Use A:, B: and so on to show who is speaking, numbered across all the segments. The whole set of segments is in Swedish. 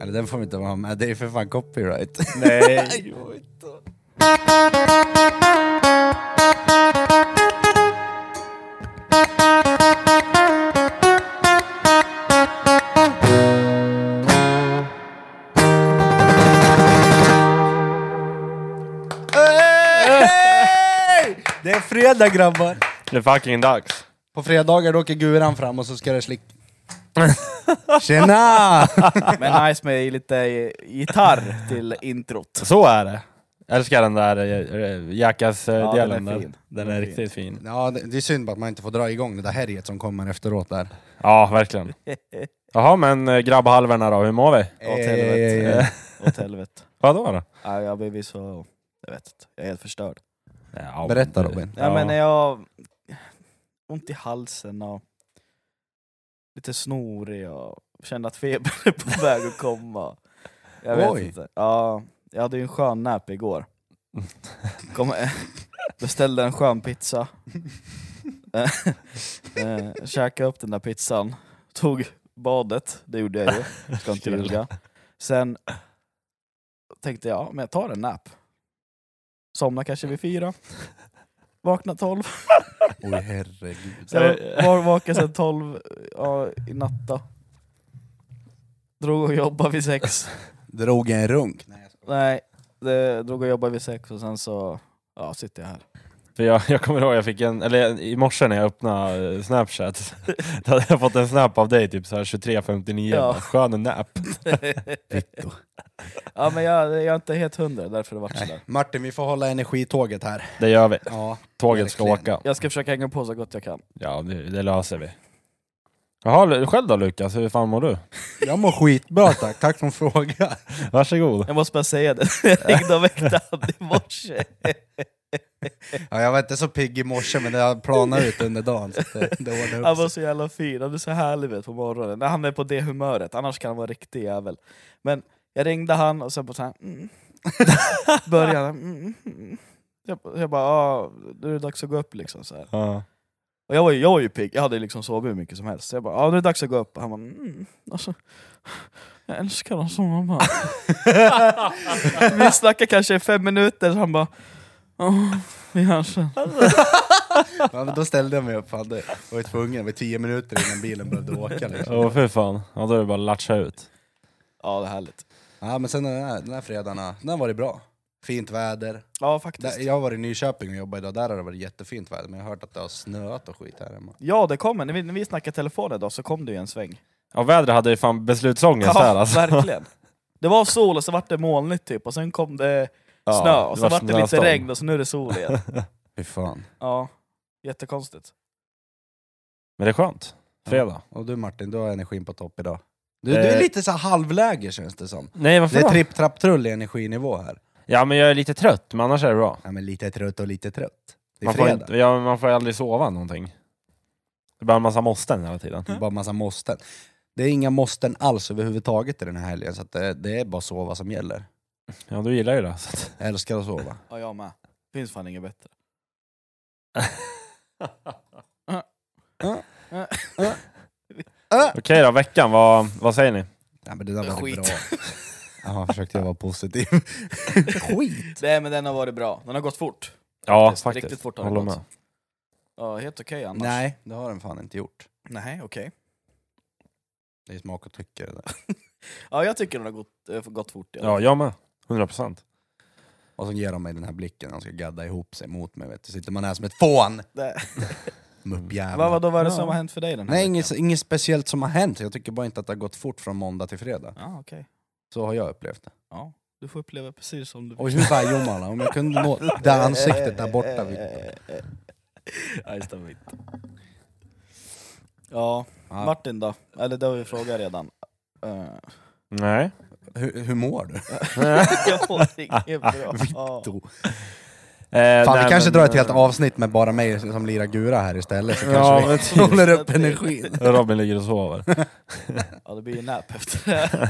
A: Eller den får vi inte vara med, det är för fan copyright.
B: Nej.
A: Det är fredag grabbar!
B: Det är fucking dags.
A: På fredagar då åker Guran fram och så ska det slick... Tjena!
C: Men nice med lite gitarr till introt.
B: Så är det. Jag älskar den där eh, Jackass-delen.
C: den är
B: där.
C: fin.
B: den
C: Den
B: är
C: är
B: riktigt fin.
A: Ja, det, det är synd bara att man inte får dra igång det där härjet som kommer efteråt där.
B: Ja, verkligen. Jaha, men eh, grabbhalvorna då, hur mår vi?
C: Åt
A: Eh,
C: helvete. Åt helvete.
B: Vadå då?
C: Ja, jag har blivit så... Jag vet inte. Jag är helt förstörd.
B: Ja,
A: Berätta,
B: det-
A: Robin.
C: Ja. men eh, jag har ont i halsen och lite snorig och kände att febern är på väg att komma. Jag vet
A: Oj.
C: inte. Ja, jag hade ju en skön nap igår. Kom, beställde en skön pizza. eh, käkade upp den där pizzan. Tog badet, det gjorde jag ju. Ska inte
B: Skräll.
C: ljuga. Sen tänkte jag, men jag tar en nap. Somna kanske vid fyra. Vakna tolv.
A: Oj herregud.
C: Så jag var vaken sedan 12 ja, i natt då. Drog och jobbade vid sex.
A: Drog en runk.
C: Nej, det, drog och jobbade vid sex och sen så ja, sitter jag här.
B: För jag, jag kommer ihåg, jag fick en, eller i morse när jag öppnade eh, Snapchat, då hade jag fått en snap av dig typ så här 23.59,
C: Ja.
B: ja. skön nap.
C: Ja, men jag, jag är inte helt hundra, därför det vart sådär.
A: Martin, vi får hålla energitåget här.
B: Det gör vi.
A: Ja.
B: Tåget ska
A: Verkligen.
B: åka.
C: Jag ska försöka hänga på så gott jag kan.
B: Ja, det, det löser vi. Jaha, Lu- själv då Lukas, hur fan mår du?
A: Jag mår skitbra tack, tack som frågar.
B: Varsågod.
C: Jag måste bara säga det, jag ringde och väckte han i morse.
A: Ja, jag var inte så pigg i morse men det har planat ut under dagen. Så att det, det ordnar
C: Han
A: upp
C: var
A: sig.
C: så jävla fin, han är så härlig vet, på morgonen. När han är på det humöret, annars kan han vara riktig jävel. Men jag ringde han och sen på så här. Mm. Började han, mm, mm. Jag, jag bara, "Ah, nu är det dags att gå upp liksom. Så här.
B: Ja.
C: Och jag var, ju, jag var ju pigg, jag hade liksom sovit hur mycket som helst. Så jag bara, "Ah, nu är det dags att gå upp. Och han bara, mm. alltså, jag älskar dem som de Vi snackade kanske i fem minuter, så han bara, "Ah, vi hörs sen.
A: Ja, men då ställde jag mig upp, hade varit tvungen, det var tio minuter innan bilen behövde åka. Liksom.
B: Åh fy fan, ja, då är det bara att latcha ut.
C: Ja, det är härligt.
A: Ja, men sen den här, den här fredagen, den har varit bra. Fint väder.
C: Ja, faktiskt.
A: Där, jag har varit i Nyköping och jobbat idag, där har det varit jättefint väder, men jag har hört att det har snöat och skit här hemma.
C: Ja, det kommer. När vi, när vi snackade telefon idag så kom det ju en sväng.
B: Ja, vädret hade ju fan beslutsångest här alltså.
C: verkligen. Det var sol och så vart det molnigt typ, och sen kom det
B: Ja,
C: snö, och
B: det
C: så
B: var
C: vart det lite
B: snöstorm.
C: regn, och så nu är det sol igen.
A: Fy fan.
C: Ja, jättekonstigt.
B: Men det är skönt. Fredag.
A: Och du Martin, du har energin på topp idag. Du, du
B: Eh.
A: är lite så här halvläge känns det som.
B: Nej varför
A: Det
B: då?
A: är tripp, trapp, trull i energinivå här.
B: Ja men jag är lite trött, men annars är det bra.
A: Ja, men lite trött och lite trött. Det är
B: Man får,
A: fredag.
B: inte, ja, man får ju aldrig sova någonting. Det är bara en massa måsten hela tiden.
A: Det är bara massa måsten. Det är inga måsten alls överhuvudtaget i den här helgen, så att det, det är bara sova som gäller.
B: Ja, du gillar ju det. Så att...
A: Jag älskar att sova.
C: Ja, jag med. Finns fan inget bättre.
B: Okej då, veckan, vad, vad säger ni?
A: Ja, men det där var
C: Skit.
A: Skit. bra. Ja, försökte jag vara positiv. Skit!
C: Nej men den har varit bra, den har gått fort.
B: Ja,
C: Faktiskt,
B: faktiskt.
C: riktigt fort har det
B: Håller
C: gått.
B: med.
C: Ja, helt okej annars.
A: Nej, det har den fan inte gjort.
C: Nej, okej.
A: Det är smak och tycke det där.
C: Ja, jag tycker den har gått, eh, gått fort.
B: Ja, jag med. 100 procent.
A: Och så ger de mig den här blicken när de ska gadda ihop sig mot mig. Vet du. Sitter man här som ett fån!
C: Det-
A: Muppjävel.
C: Vad, vad, då var det
B: Ja.
C: som har hänt för dig den här
A: Nej,
C: veckan?
A: inget, inget speciellt som har hänt. Jag tycker bara inte att det har gått fort från måndag till fredag.
C: Ja, okej.
A: Så har jag upplevt det.
C: Ja, du får uppleva precis som du vill.
A: Oj, hur var Jomala? Om jag kunde nå det ansiktet där borta. Victor.
C: Ja, just det, Victor. Ja, Martin då? Eller det har vi frågat redan. Eh,
B: Nej.
A: Hur, hur mår du?
C: jag får inget bra. Ja.
B: Eh,
A: Fan,
B: nej,
A: vi kanske
B: men-
A: drar ett helt avsnitt med bara mig som lirar Gura här istället, så
B: Ja,
A: kanske vi
B: men typ.
A: håller upp energin.
B: Robin ligger och sover.
C: ja, det blir ju nap efter det här.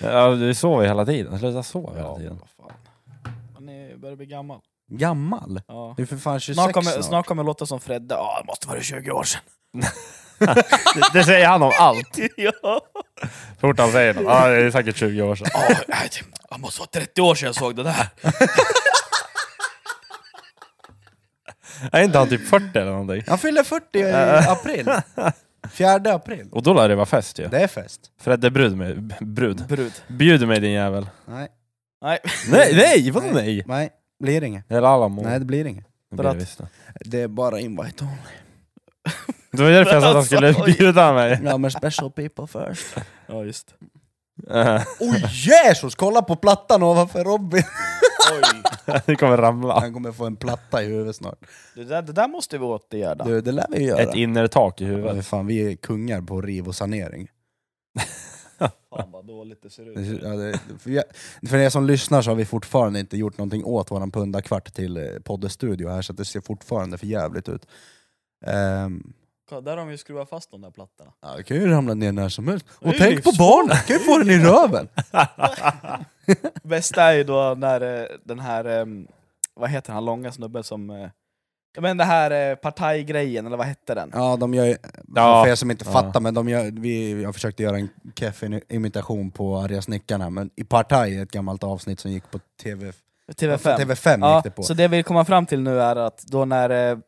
B: Ja, du sover ju hela tiden. Sluta sova hela
C: Ja,
B: tiden.
C: vad fan. Man är- börjar bli gammal.
A: Gammal?
C: Ja.
A: Du är för fan 26
C: Snart kommer, snart kommer jag låta som Fredde. Ja, det måste vara 20 år sedan.
B: Det, det säger han om allt.
C: ja.
B: Så fort han säger något. Ja, det är säkert 20 år sedan.
C: Det måste vara 30 år sedan jag såg det där.
B: Är inte han typ 40 eller någonting?
A: Han fyller 40 i april. 4 april.
B: Och då lär det vara fest ju.
A: Det är fest.
B: Fredde brud mig, b- brud.
C: Brud.
B: Bjud mig din jävel.
A: Nej,
C: Nej.
B: Nej, nej, vadå nej?
A: nej. Blir inget.
B: Eller Alamo.
A: Nej, det blir inget.
B: Det blir det visst det.
A: Det är bara invite only.
B: Det var därför jag sa att han
C: Alltså,
B: skulle
C: oj.
B: bjuda mig.
A: Ja, men special people first.
C: Ja, just.
B: Eh,
A: Oj Jesus, kolla på plattan ovanför Robin!
C: Oj.
B: Det kommer ramla.
A: Han kommer få en platta i huvudet snart.
C: Det där, det där måste vi åtgärda.
A: Du, det lär vi ju
B: Ett
A: göra.
B: innertak i
A: Ja, för
B: huvudet.
A: fan, vi är kungar på riv och sanering.
C: Fan vad dåligt det ser
A: Det- Ja, det, för, jag, för er som lyssnar så har vi fortfarande inte gjort någonting åt våran pundakvart till eh, poddestudio här, så att det ser fortfarande för jävligt ut. Ehm,
C: Kolla, där har de ju skruvat fast de där plattorna.
A: ja, det kan ju ramla ner när som helst.
C: Det
A: Och
C: är
A: tänk på
C: livsfarligt.
A: barnet, kan ju få den i röven!
C: Bästa är ju då när eh, den här, ehm, vad heter han långa snubben som... eh, ja, Men det här eh, partajgrejen, eller vad hette den?
A: Ja, de gör ju,
B: Ja.
A: för er som inte
B: Ja.
A: fattar, men de gör, vi, jag försökte göra en keff imitation på arga snickarna, men i Partaj, ett gammalt avsnitt som gick på TV,
C: TV5.
A: TV5
C: ja,
A: gick det på.
C: Så det vi kommer fram till nu är att då när... eh,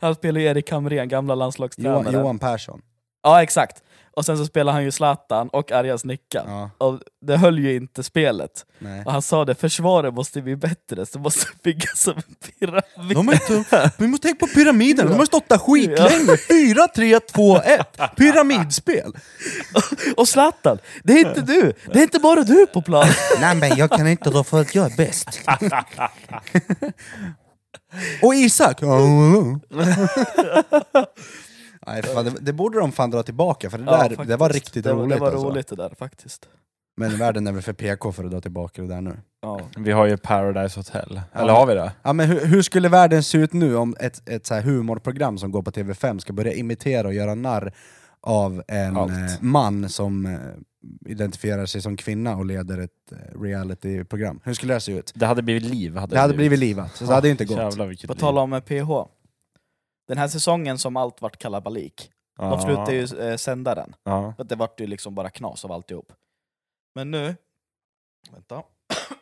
C: han spelar ju Erik Hamrén, gamla landslagstränaren.
A: Johan, Johan Persson.
C: Ja, exakt. Och sen så spelar han ju Zlatan och arga snickaren.
A: Ja,
C: Och det höll ju inte spelet.
A: nej.
C: Och han sa det, försvaret måste bli bättre, så måste bygga som en pyramid.
A: De är inte, vi måste tänka på pyramiden, de har stått där
C: skitlänge.
A: 4, 3, 2, 1! Pyramidspel!
C: Och Zlatan, det är inte du! Det är inte bara du på plan!
A: Nej men jag kan inte då för att jag är bäst. Och Isak! Nej, fan, det, det borde de fan dra tillbaka, för det
C: Ja,
A: där det var
C: faktiskt.
A: riktigt
C: det, var-
A: roligt,
C: Det var
A: alltså.
C: roligt det där faktiskt.
A: Men världen är väl för PK för att dra tillbaka det där nu.
C: Ja.
B: Vi har ju Paradise Hotel. Eller
A: Ja.
B: har vi det?
A: Ja, men hur, hur skulle världen se ut nu om ett, ett så här humorprogram som går på TV5 ska börja imitera och göra narr av en
B: Allt.
A: eh, man som eh, identifierar sig som kvinna och leder ett eh, realityprogram? Hur skulle det se ut?
B: Det hade blivit liv. Hade
A: Det hade blivit livat, så det hade ju inte gått.
B: Jävlar vilket
C: På
B: liv.
C: tal om eh, PH. Den här säsongen som allt vart kalabalik.
B: Ja.
C: De slutade ju eh, sända den.
B: Ja.
C: För att det vart ju liksom bara knas av alltihop. Men nu... Vänta.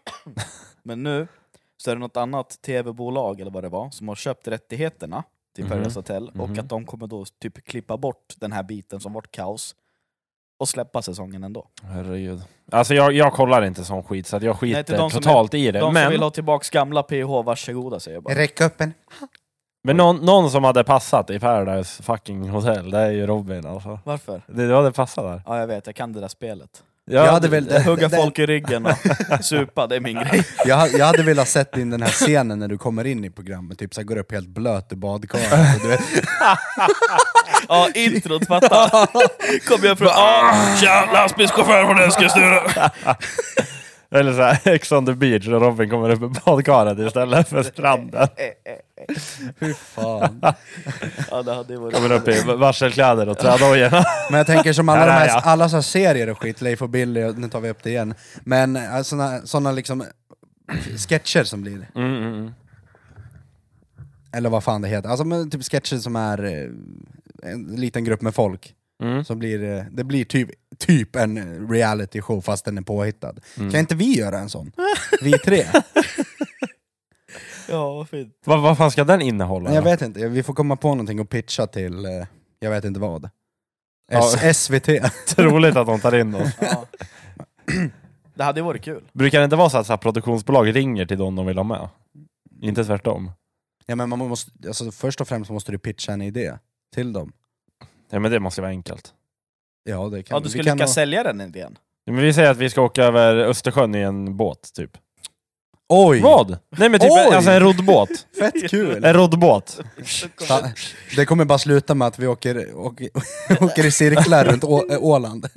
C: Men nu så är det något annat tv-bolag eller vad det var som har köpt rättigheterna till
B: Mhm.
C: Paradise Hotel och
B: Mhm.
C: att de kommer då typ klippa bort den här biten som vart kaos och släppa säsongen ändå.
B: Herregud. Alltså jag, jag kollar inte sån skit, så att jag
C: till
B: skiter
C: de som
B: totalt i det.
C: De som
B: Men,
C: vill ha tillbaks gamla PH, varsågoda säger jag bara.
A: Räck upp en.
B: men någon, någon som hade passat i Paradise fucking Hotel, det är ju Robin alltså.
C: Varför?
B: Det, du hade passat där.
C: Ja jag vet, jag kan det där spelet.
B: Jag,
A: hade väl- Det-
C: Hugga
A: det-
C: folk i ryggen och supa, det är min grej.
A: Jag, ha- jag hade velat sett in den här scenen när du kommer in i programmet, typ så här, går upp helt blöt i badkaret. och du vet-
C: Ja, introt fatta! Kommer jag från... Ah, tja, lastbilschaufför från Eskilstuna!
B: Eller såhär, Ex on the beach och Robin kommer upp i badkaret istället för stranden.
A: Fy fan.
C: Ja, det hade ju varit...
B: Kommer upp i varselkläder och trädojorna.
A: Men jag tänker som alla,
B: Där
A: de
B: är
A: här,
B: jag.
A: alla så här serier och skit, Leif och Billy, och nu tar vi upp det igen. Men eh, såna, såna liksom sketcher som blir,
B: Mm, mm, mm.
A: eller vad fan det heter, alltså men typ sketcher som är eh, en liten grupp med folk.
B: Mm.
A: Som blir, eh, det blir typ, typ en reality show fast den är påhittad. Kan inte vi göra en sån? Vi tre?
C: Ja, vad fint.
B: Vad, vad fan ska den innehålla?
A: Nej, jag
B: då?
A: vet inte, vi får komma på någonting och pitcha till, eh, jag vet inte vad.
B: Ja.
A: S- SVT.
B: Troligt att de tar in oss.
C: Ja. Det hade ju varit kul.
B: Brukar det inte vara så att så här, produktionsbolag ringer till dem de vill ha med? Inte tvärtom.
A: Ja, men man måste, alltså, först och främst måste du pitcha en idé till dem.
B: Ja, men det måste vara enkelt.
A: Ja, det kan
C: Ja,
A: vi
C: du skulle
A: kan
C: lyckas
A: ha-
C: sälja den idén.
B: Ja, Men vi säger att vi ska åka över Östersjön i en båt, typ.
A: Oj!
B: Vad? Nej men typ
A: Oj!
B: alltså en roddbåt.
A: Fett kul!
B: En roddbåt.
A: Fan, Det kommer bara sluta med att vi åker, åker, åker i cirklar runt Å, äh, Åland.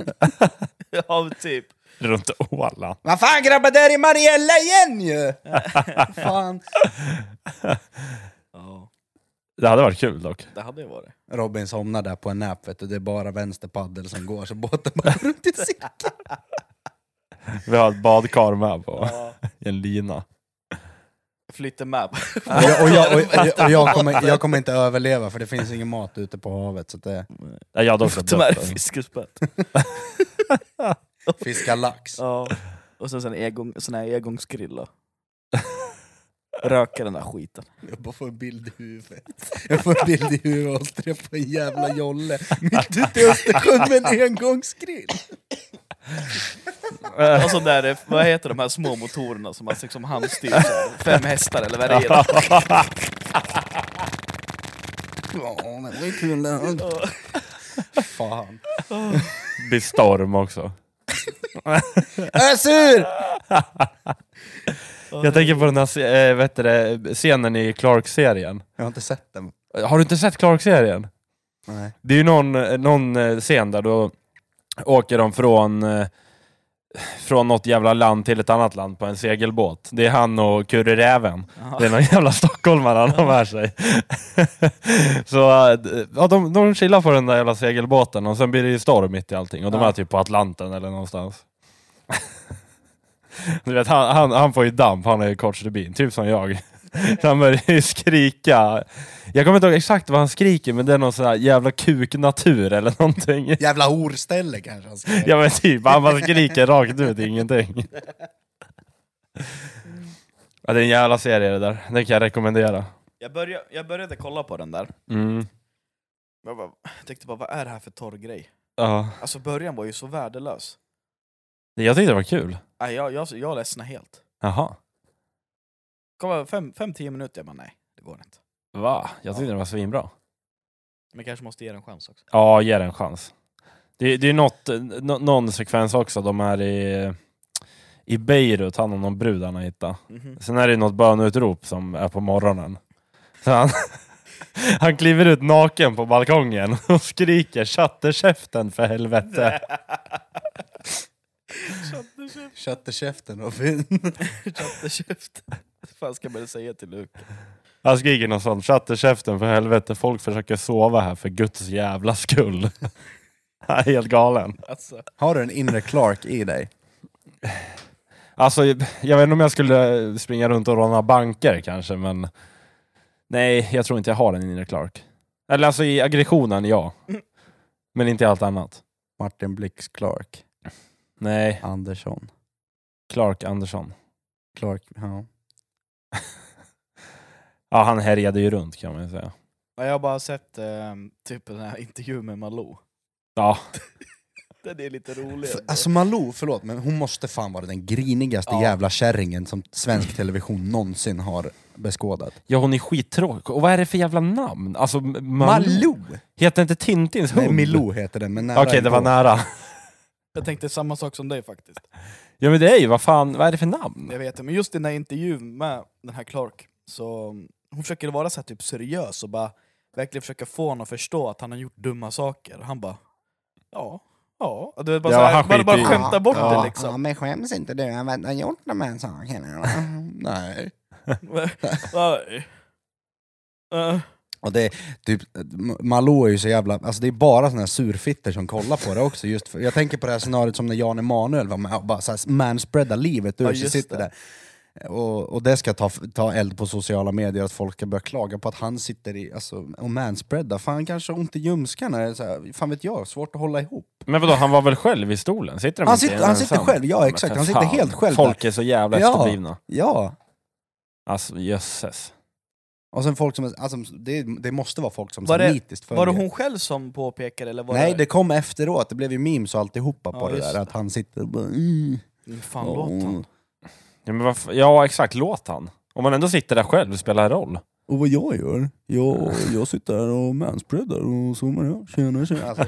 C: Ja, typ.
B: Runt Åland.
A: Vad fan grabbar, där är Mariella igen ju! fan.
C: Ja,
B: Det hade varit kul dock.
C: det hade ju varit.
A: Robin somnar där på en nap vet du, det är bara vänster paddel som går så båten bara runt i cirklar.
B: Vi har ett badkar med på
C: Ja.
B: en lina.
C: flytta med.
A: Och jag, och jag, och jag, och jag, kommer, jag kommer inte överleva för det finns ingen mat ute på havet. Så att det
B: Nej, jag hade också
C: Ta med
B: dött. alltså.
C: fiskespett.
A: fiska lax.
C: Ja. Och sen sån här egång- sån här egångsgrilla. Röka den där skiten.
A: Jag bara får en bild i huvudet. Jag får en bild i huvudet och träffar på en jävla jolle mitt ute i Östersjön med en engångsgrill.
C: Och sån där, eh, vad heter de här små motorerna som man liksom handstyr? så här, Fem hästar eller vad det är.
A: Ja, men det var ju kul det här.
C: Ja.
A: Fan.
B: Blir storm också.
A: Jag är sur!
B: Jag tänker på den här se- eh, vad heter det, scenen i Clark-serien.
A: Jag har inte sett den.
B: Har du inte sett Clark-serien?
A: Nej.
B: Det är ju någon, någon eh, scen där då åker de från, eh, från något jävla land till ett annat land på en segelbåt. Det är han och Kurre Räven.
C: Jaha.
B: Det är någon jävla stockholmare han har med sig. så eh, ja, de, de chillar på den där jävla segelbåten och sen blir det ju storm mitt i allting och de
C: Ja.
B: är typ på Atlanten eller någonstans. du vet, han, han, han får ju damp, han är ju kort stubin, typ som jag. Så han börjar ju skrika. Jag kommer inte ihåg exakt vad han skriker men det är någon sån här jävla kuknatur eller någonting.
A: Jävla horställe kanske han skrev.
B: Ja men typ, han bara skriker rakt ut ingenting. Ja, det är en jävla serie det där, den kan jag rekommendera.
C: Jag, började, jag började kolla på den där.
B: Mm.
C: Jag, bara, jag tänkte bara, vad är det här för torr grej?
B: Ja.
C: Alltså början var ju så värdelös.
B: Jag tyckte det var kul.
C: Nej, jag, jag, jag ledsnade helt.
B: Jaha.
C: Kom, fem, fem, tio minuter, jag bara nej, det går inte.
B: Va? Jag tyckte det var svinbra.
C: Men kanske måste ge den en chans också.
B: Ja, ge den en chans. Det, det är något, nå- någon sekvens också, de är i, i Beirut, han och någon brud han har hittat.
C: Mhm.
B: Sen är det något bönutrop som är på morgonen. Så han, han kliver ut naken på balkongen och skriker 'Chatterkäften för helvete'
A: Kött i käften Robin.
C: Chatterkäft. Vad fan ska man säga till Luke?
B: Han skriker något sånt, 'Chatterkäften för helvete, folk försöker sova här för guds jävla skull' Han är helt galen.
C: Alltså,
A: Har du en inre Clark i dig?
B: Alltså, jag vet inte om jag skulle springa runt och råna banker kanske, men nej, jag tror inte jag har en inre Clark. Eller alltså i aggressionen, ja. Men inte i allt annat.
A: Martin Blix Clark.
B: Nej,
A: Andersson.
B: Clark Andersson.
A: Clark, ja.
B: Ja, han härjade ju runt kan man ju säga.
C: jag har bara sett eh, typ den här intervjun med Malou.
B: Ja,
C: Den är lite rolig.
A: F- Alltså Malou, förlåt, men hon måste fan vara den grinigaste
C: Ja.
A: jävla kärringen som svensk television någonsin har beskådat.
B: ja hon är skittråkig. Och vad är det för jävla namn? Alltså, M- Malou? Heter inte Tintins hund?
A: Nej, Milou heter den, men nära
B: Okej, det var
A: inpå.
B: nära.
C: Jag tänkte samma sak som dig faktiskt.
B: Ja men det är ju, vad fan, vad är det för namn?
C: Jag vet det, men just i den här intervjun med den här Clark, så mm, hon försöker vara så här typ seriös och bara verkligen försöka få honom att förstå att han har gjort dumma saker. Han bara, ja, ja. Och Du vet, bara,
B: Ja,
C: så här,
B: han
C: bara, bara
B: skiter i-
C: skämta bort
B: Ja.
C: det liksom.
A: men skäms inte du över att ha gjort de här sakerna? Nej.
C: Nej. Eh,
A: Och det, är typ, Malou är ju så jävla, alltså det är bara såna här surfitter som kollar på det också. Just för, jag tänker på det här scenariot som när Jan Emanuel var med och bara så här manspreadar livet ur
C: Ja,
A: sig,
C: just
A: sitter
C: det.
A: där. Och, och det ska ta, ta eld på sociala medier, att folk ska börja klaga på att han sitter i, alltså, och manspreadar. Fan, han kanske har ont i ljumskarna, eller så här, fan vet jag, svårt att hålla ihop.
B: Men vadå, han var väl själv i stolen? Sitter de
A: Han
B: inte
A: sitter-
B: ensam?
A: han sitter själv, ja,
B: Men
A: exakt.
B: för
A: Han sitter
B: fan,
A: helt själv
B: Folk är så jävla
A: Ja.
B: efterblivna.
A: Ja!
B: Alltså jösses.
A: Och sen folk som, alltså, det, det måste vara folk som
C: Var
A: var
C: det-
A: nitiskt följer.
C: var det hon själv som påpekade eller var
A: Nej,
C: det...
A: det kom efteråt, det blev ju memes och alltihopa på
C: Ja,
A: det
C: just
A: där,
C: det.
A: att han sitter och bara, mm,
C: Mm, Fan,
A: ja,
C: låt han.
B: Ja, men varf- ja exakt, låt han. Om man ändå sitter där själv, spelar det roll?
A: Och vad jag gör? Jag, jag sitter här och manspreadar och zoomar jag. Tjena tjena. Alltså,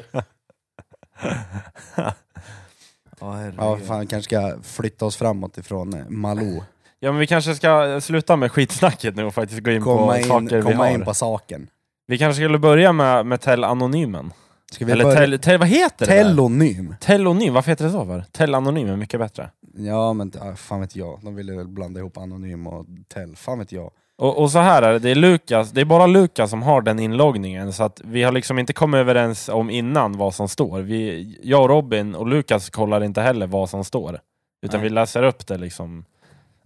A: ja, fan kanske ska flytta oss framåt ifrån eh, Malou.
B: Ja men vi kanske ska sluta med skitsnacket nu och faktiskt gå in
A: Komma
B: på saker
A: in,
B: vi
A: komma
B: har.
A: in på saken.
B: Vi kanske skulle börja med, med Tell Anonymen.
A: Ska vi
B: Eller
A: börja?
B: tell, tell, vad heter det där?
A: Telonym.
B: Tellonym, varför heter det så för? Tell Anonym är mycket bättre.
A: Ja men ah, fan vet jag, de ville väl blanda ihop anonym och tell. Fan vet jag.
B: Och, och så här är det, det är, Lukas, det är bara Lukas som har den inloggningen så att vi har liksom inte kommit överens om innan vad som står. Vi, jag och Robin och Lukas kollar inte heller vad som står. Utan
A: Nej.
B: vi läser upp det liksom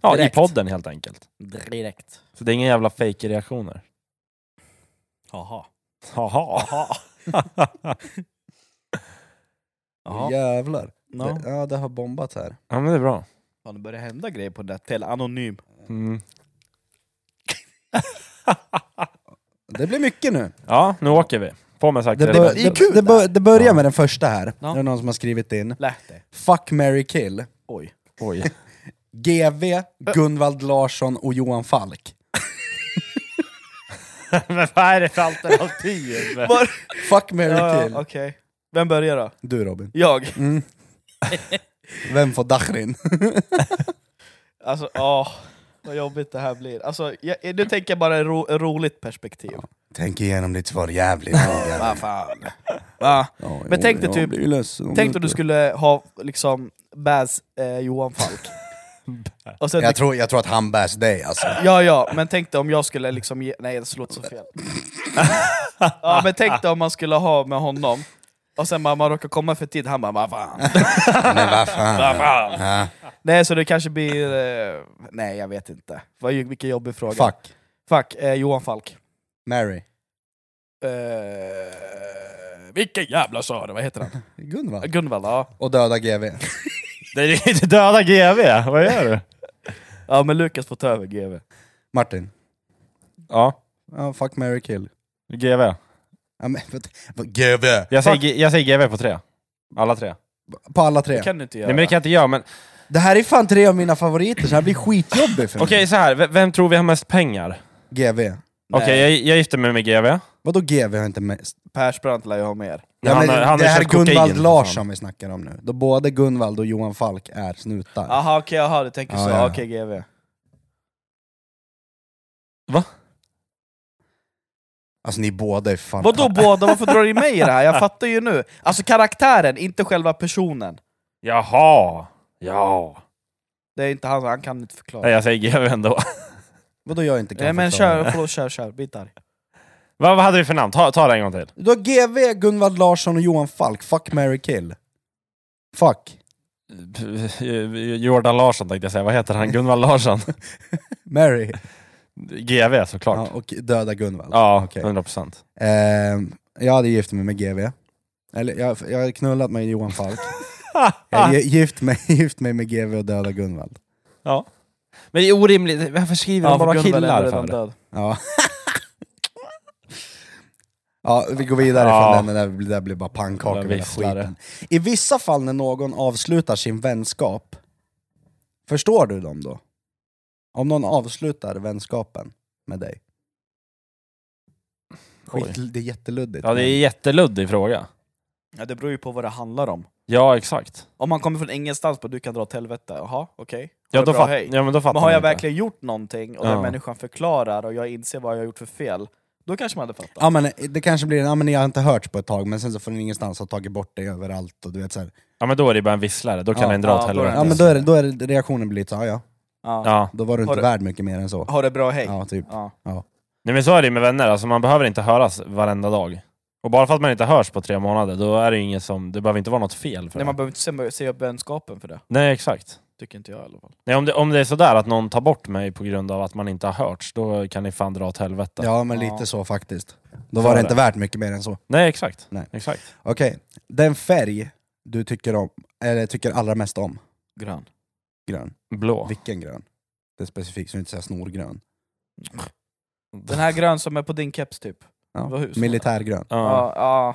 B: Ja,
D: Direkt.
B: i podden helt enkelt.
D: Direkt.
B: Så det är inga jävla fake reaktioner
D: Jaha.
B: Haha.
D: Jaha.
A: Jävlar.
D: No.
A: Det, ja, det har bombat här.
B: ja men det är bra.
D: Fan, det börjar hända grejer på det där till Anonym.
B: Mm.
A: Det blir mycket nu.
B: Ja, nu åker vi. På med
A: Det,
B: sakta
A: bör,
B: ribban.
D: är
A: det,
D: kul
A: det,
D: det
A: bör,
D: här.
A: det börjar med den första här.
D: Ja.
A: Det är någon som har skrivit in.
D: Lät det.
A: Fuck, Mary kill.
D: Oj.
B: Oj.
A: GV, Gunvald Larsson och Johan Falk.
B: men vad är det för alternativ?
C: Var-
A: Fuck, Mary
C: Ja,
A: kill.
C: ja, Okej. Vem börjar då?
A: Du Robin.
C: Jag?
A: Mm. Vem får Dahrin?
C: Alltså, åh. Vad jobbigt det här blir. Alltså, jag, nu tänker jag bara ett ro, roligt perspektiv.
A: Tänk igenom ditt svar jävligt noga.
C: Vad fan. Va?
A: Ja,
C: Men tänk dig typ-
A: blir ju ledsen om
C: Tänk om du
A: inte-
C: skulle ha liksom Baz eh, Johan Falk. Och sen,
A: Jag tror, jag tror att han bärs dig alltså.
C: ja, ja, men tänk dig om jag skulle liksom ge... Nej, det låter så fel. ja, men tänk dig om man skulle ha med honom, och sen bara, man råkar komma för tid, han bara vad fan.
A: Men vad fan. Ja.
C: Nej, så det kanske blir... Eh, nej, jag vet inte. Vad, vilken jobbig fråga.
A: Fuck.
C: Fuck, eh, Johan Falk.
A: Mary.
C: Eh, vilken jävla sa du? Vad heter han?
A: Gunvald.
C: Gunvald, ja.
A: Och döda GV.
B: Det är inte döda GV, vad gör du?
C: Ja, men Lukas får ta över GV.
A: Martin.
B: Ja,
A: Ja, fuck, Mary kill.
B: GV.
A: Ja, men, vad- vad- GV!
B: Jag säger, G- jag säger GV på tre. Alla tre.
A: På alla tre.
C: Det kan du inte göra.
B: Nej men det kan jag inte göra, men
A: Det här är fan tre av mina favoriter, så det här blir skitjobbigt för mig.
B: okej så här. V- vem tror vi har mest pengar?
A: GV.
B: Okej, jag, jag gifter mig med GV.
A: Vadå GV har inte mest?
C: Persbrandt lär ju ha mer.
A: Ja,
B: Han
A: men,
B: har- han har
A: det här är
B: köpt kokain, liksom.
A: Gunvald
B: för
A: Larsson vi snackar om nu. Då både Gunvald och Johan Falk är snutar.
C: Jaha okej, jaha du tänker
A: Ja,
C: så,
A: ja.
C: okej GV.
A: Alltså ni båda är fan...
C: Vadå båda, varför drar du in mig i det här? Jag fattar ju nu. Alltså karaktären, inte själva personen.
B: Jaha! Ja.
C: Det är inte han, han kan inte förklara.
B: Nej, jag säger GV ändå.
A: Vadå jag inte kan
C: Nej men
A: förklara?
C: kör, förlåt, kör, kör, bit arg.
B: Vad, vad hade vi för namn? Ta, ta det en gång till.
A: Du har GV, Gunvald Larsson och Johan Falk. Fuck, Mary kill. Fuck.
B: Jordan Larsson tänkte jag säga, vad heter han? Gunvald Larsson?
A: Mary.
B: GV
A: Ja,
B: såklart.
A: och döda Gunvald.
B: Ja,
A: Okej.
B: 100 procent.
A: Ehm, jag hade gift mig med GV. Eller jag, jag har knullat mig med Johan Falk. jag hade gi- gift mig, gift mig med GV och döda Gunvald.
B: Men det är orimligt, varför skriver de bara killar för?
A: Ja. ja, vi går vidare
B: Ja.
A: från den, den där, det där blir bara pannkakor
B: Den
A: med
B: visslar.
A: skiten. I vissa fall när någon avslutar sin vänskap, förstår du dem då? Om någon avslutar vänskapen med dig?
B: Oj.
A: Skit, det är jätteluddigt.
B: Ja, det är en jätteluddig fråga.
C: Ja det beror ju på vad det handlar om.
B: Ja, exakt.
C: Om man kommer från ingenstans på du kan dra åt helvete, jaha okej. Ha
B: Ja,
C: det
B: då
C: bra,
B: fatt,
C: hej.
B: ja, men då fattar
C: Men har
B: man
C: jag
B: inte.
C: verkligen gjort någonting och den
B: Ja.
C: människan förklarar och jag inser vad jag har gjort för fel, då kanske man hade fattat.
A: Ja men det kanske blir en, ja men ni har inte hört på ett tag, men sen så från ingenstans har tagit bort det överallt och du vet så här.
B: Ja, men då är det bara en visslare, då kan
A: Ja,
B: den dra
C: ja,
B: åt
C: då är
B: helvete.
A: Ja men då är, det, då är det, reaktionen blir lite så, ja, ja
C: Ja.
B: Ja.
A: då var du
C: Har
A: inte
C: du-
A: värd mycket mer än så.
C: Ha det bra, hej.
A: Ja, typ.
C: Ja.
B: Nej men så är det ju med vänner, alltså man behöver inte höras varenda dag. Och bara för att man inte hörs på tre månader, då är det ju inget som, det behöver inte vara något fel för
C: Nej, man
B: det.
C: behöver inte se- säga upp vänskapen för det,
B: Nej exakt.
C: tycker inte jag i alla fall.
B: Nej, om, det, om det är sådär att någon tar bort mig på grund av att man inte har hörts, då kan ni fan dra åt helvete.
A: Ja men
C: Ja.
A: lite så faktiskt. Då
B: Så
A: var
B: är
A: det
B: det.
A: inte värt mycket mer än så.
B: Nej exakt.
A: Nej.
B: exakt.
A: Okej, den färg du tycker om, eller tycker allra mest om?
C: Grön.
A: Grön.
B: Blå.
A: Vilken grön? Det är specifikt, så du inte säger snorgrön.
C: Den här grön som är på din keps typ? Vad
A: Ja.
C: hus?
A: Militärgrön.
B: Ja.
C: Ja, ja,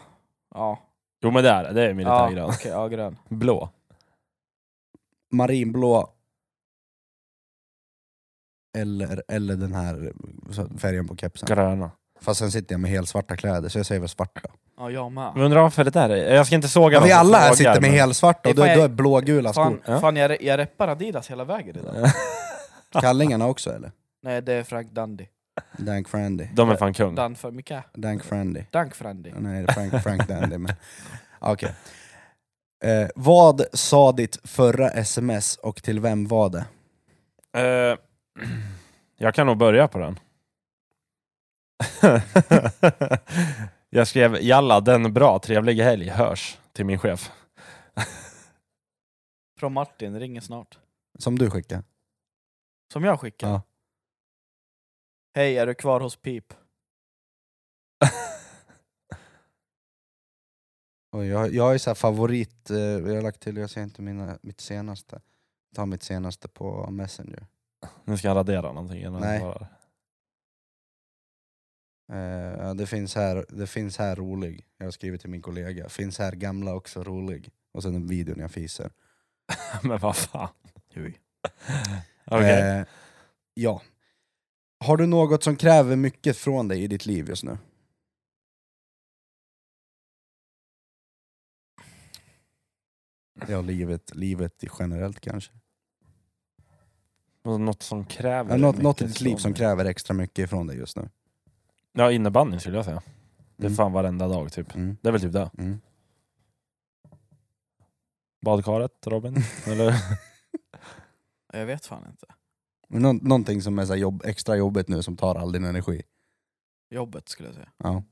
C: ja.
B: Jo men det är det, det är militärgrön.
C: Ja, okej, ja, grön.
B: Blå.
A: Marinblå. Eller, eller den här färgen på kepsen.
B: Gröna.
A: Fast sen sitter jag med helt svarta kläder, så jag säger väl svarta.
C: Ja, jag
B: Jag
C: med.
B: undrar varför det där är... Jag ska inte såga
A: Ja, vi
B: någon som
A: alla här
B: frågar,
A: sitter med
B: men-
A: helsvarta och då,
C: Ifall jag-
A: då är blågula skor. Mm.
C: Fan,
B: Ja.
C: fan jag, re- jag reppar Adidas hela vägen idag.
A: Kallingarna också eller?
C: Nej, det är Frank Dandy.
A: Mm. Dank Frandy.
B: De är fan kung.
C: Dan för mycket.
A: Dank Frandy.
C: Dank Frandy.
A: Nej, det är Frank, Frank Dandy. Men... Okej. Eh, vad sa ditt förra sms och till vem var det?
B: Eh, jag kan nog börja på den. jag skrev Jalla, den bra, trevlig helg, hörs till min chef.
C: Från Martin, ringer snart.
A: Som du skickade?
C: Som jag skickar.
A: Ja.
C: Hej, är du kvar hos Pip?
A: Och jag, jag är så här favorit, eh, jag har lagt till, jag ser inte mina, mitt senaste. Ta mitt senaste på Messenger.
B: Nu ska han radera någonting innan
A: Nej.
B: han svarar.
A: Eh, ja, det, finns här, det finns här rolig, jag har skrivit till min kollega. Finns här gamla också rolig. Och sen en video när jag fiser.
B: Men vad fan.
E: Oj.
B: Okej.
A: Eh, ja. Har du något som kräver mycket från dig i ditt liv just nu? Ja, livet, livet i generellt kanske.
B: Och Något som kräver...
A: Ja, något,
B: mycket
A: något i ditt liv
B: från
A: som
B: dig.
A: kräver extra mycket från dig just nu.
B: Ja, innebandy skulle jag säga. Det är
A: Mm.
B: fan varenda dag typ.
A: Mm,
B: Det är väl typ det.
A: mm.
B: Badkaret, Robin? Eller?
C: Jag vet fan inte.
A: Men Nå någonting som är så här jobb, extra jobbigt nu som tar all din energi.
C: Jobbet skulle jag säga.
A: Ja.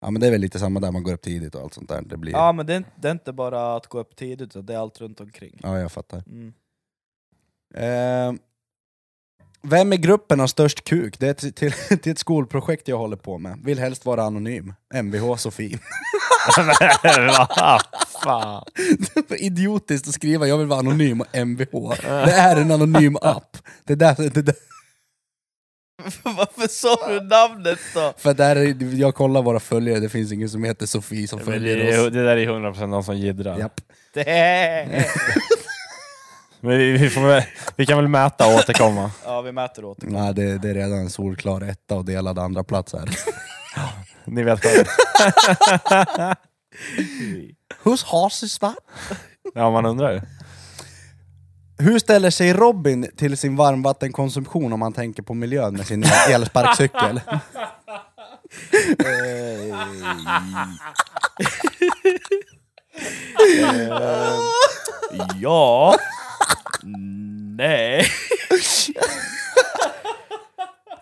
A: ja men det är väl lite samma där, man går upp tidigt och allt sånt där. Det blir...
C: Ja, men det är, inte- det är inte bara att gå upp tidigt, utan det är allt runt omkring.
A: ja jag fattar.
C: Mm.
A: Eh, vem i gruppen har störst kuk? Det är till, till, till ett skolprojekt jag håller på med. Vill helst vara anonym. Mvh Sofie.
B: Men vad fan.
A: Det är Idiotiskt att skriva jag vill vara anonym och mvh. Det är en anonym app. Det är där, det är där,
C: Varför sa du namnet då?
A: för där är, jag kollar våra följare, det finns ingen som heter Sofie som
B: Men Det,
A: följer
B: är-
A: oss.
B: det där är 100% någon som jiddrar.
A: Japp.
C: Det-
B: Men vi, vi, får väl, vi kan väl mäta och återkomma.
C: ja, vi mäter åt.
A: Nej, det, det är redan en solklar etta och delad andra plats här.
B: Ni vet själva.
A: Whose horse is that?
B: Ja, man undrar ju.
A: Hur ställer sig Robin till sin varmvattenkonsumtion om man tänker på miljön med sin elsparkcykel?
C: Ja. Nej.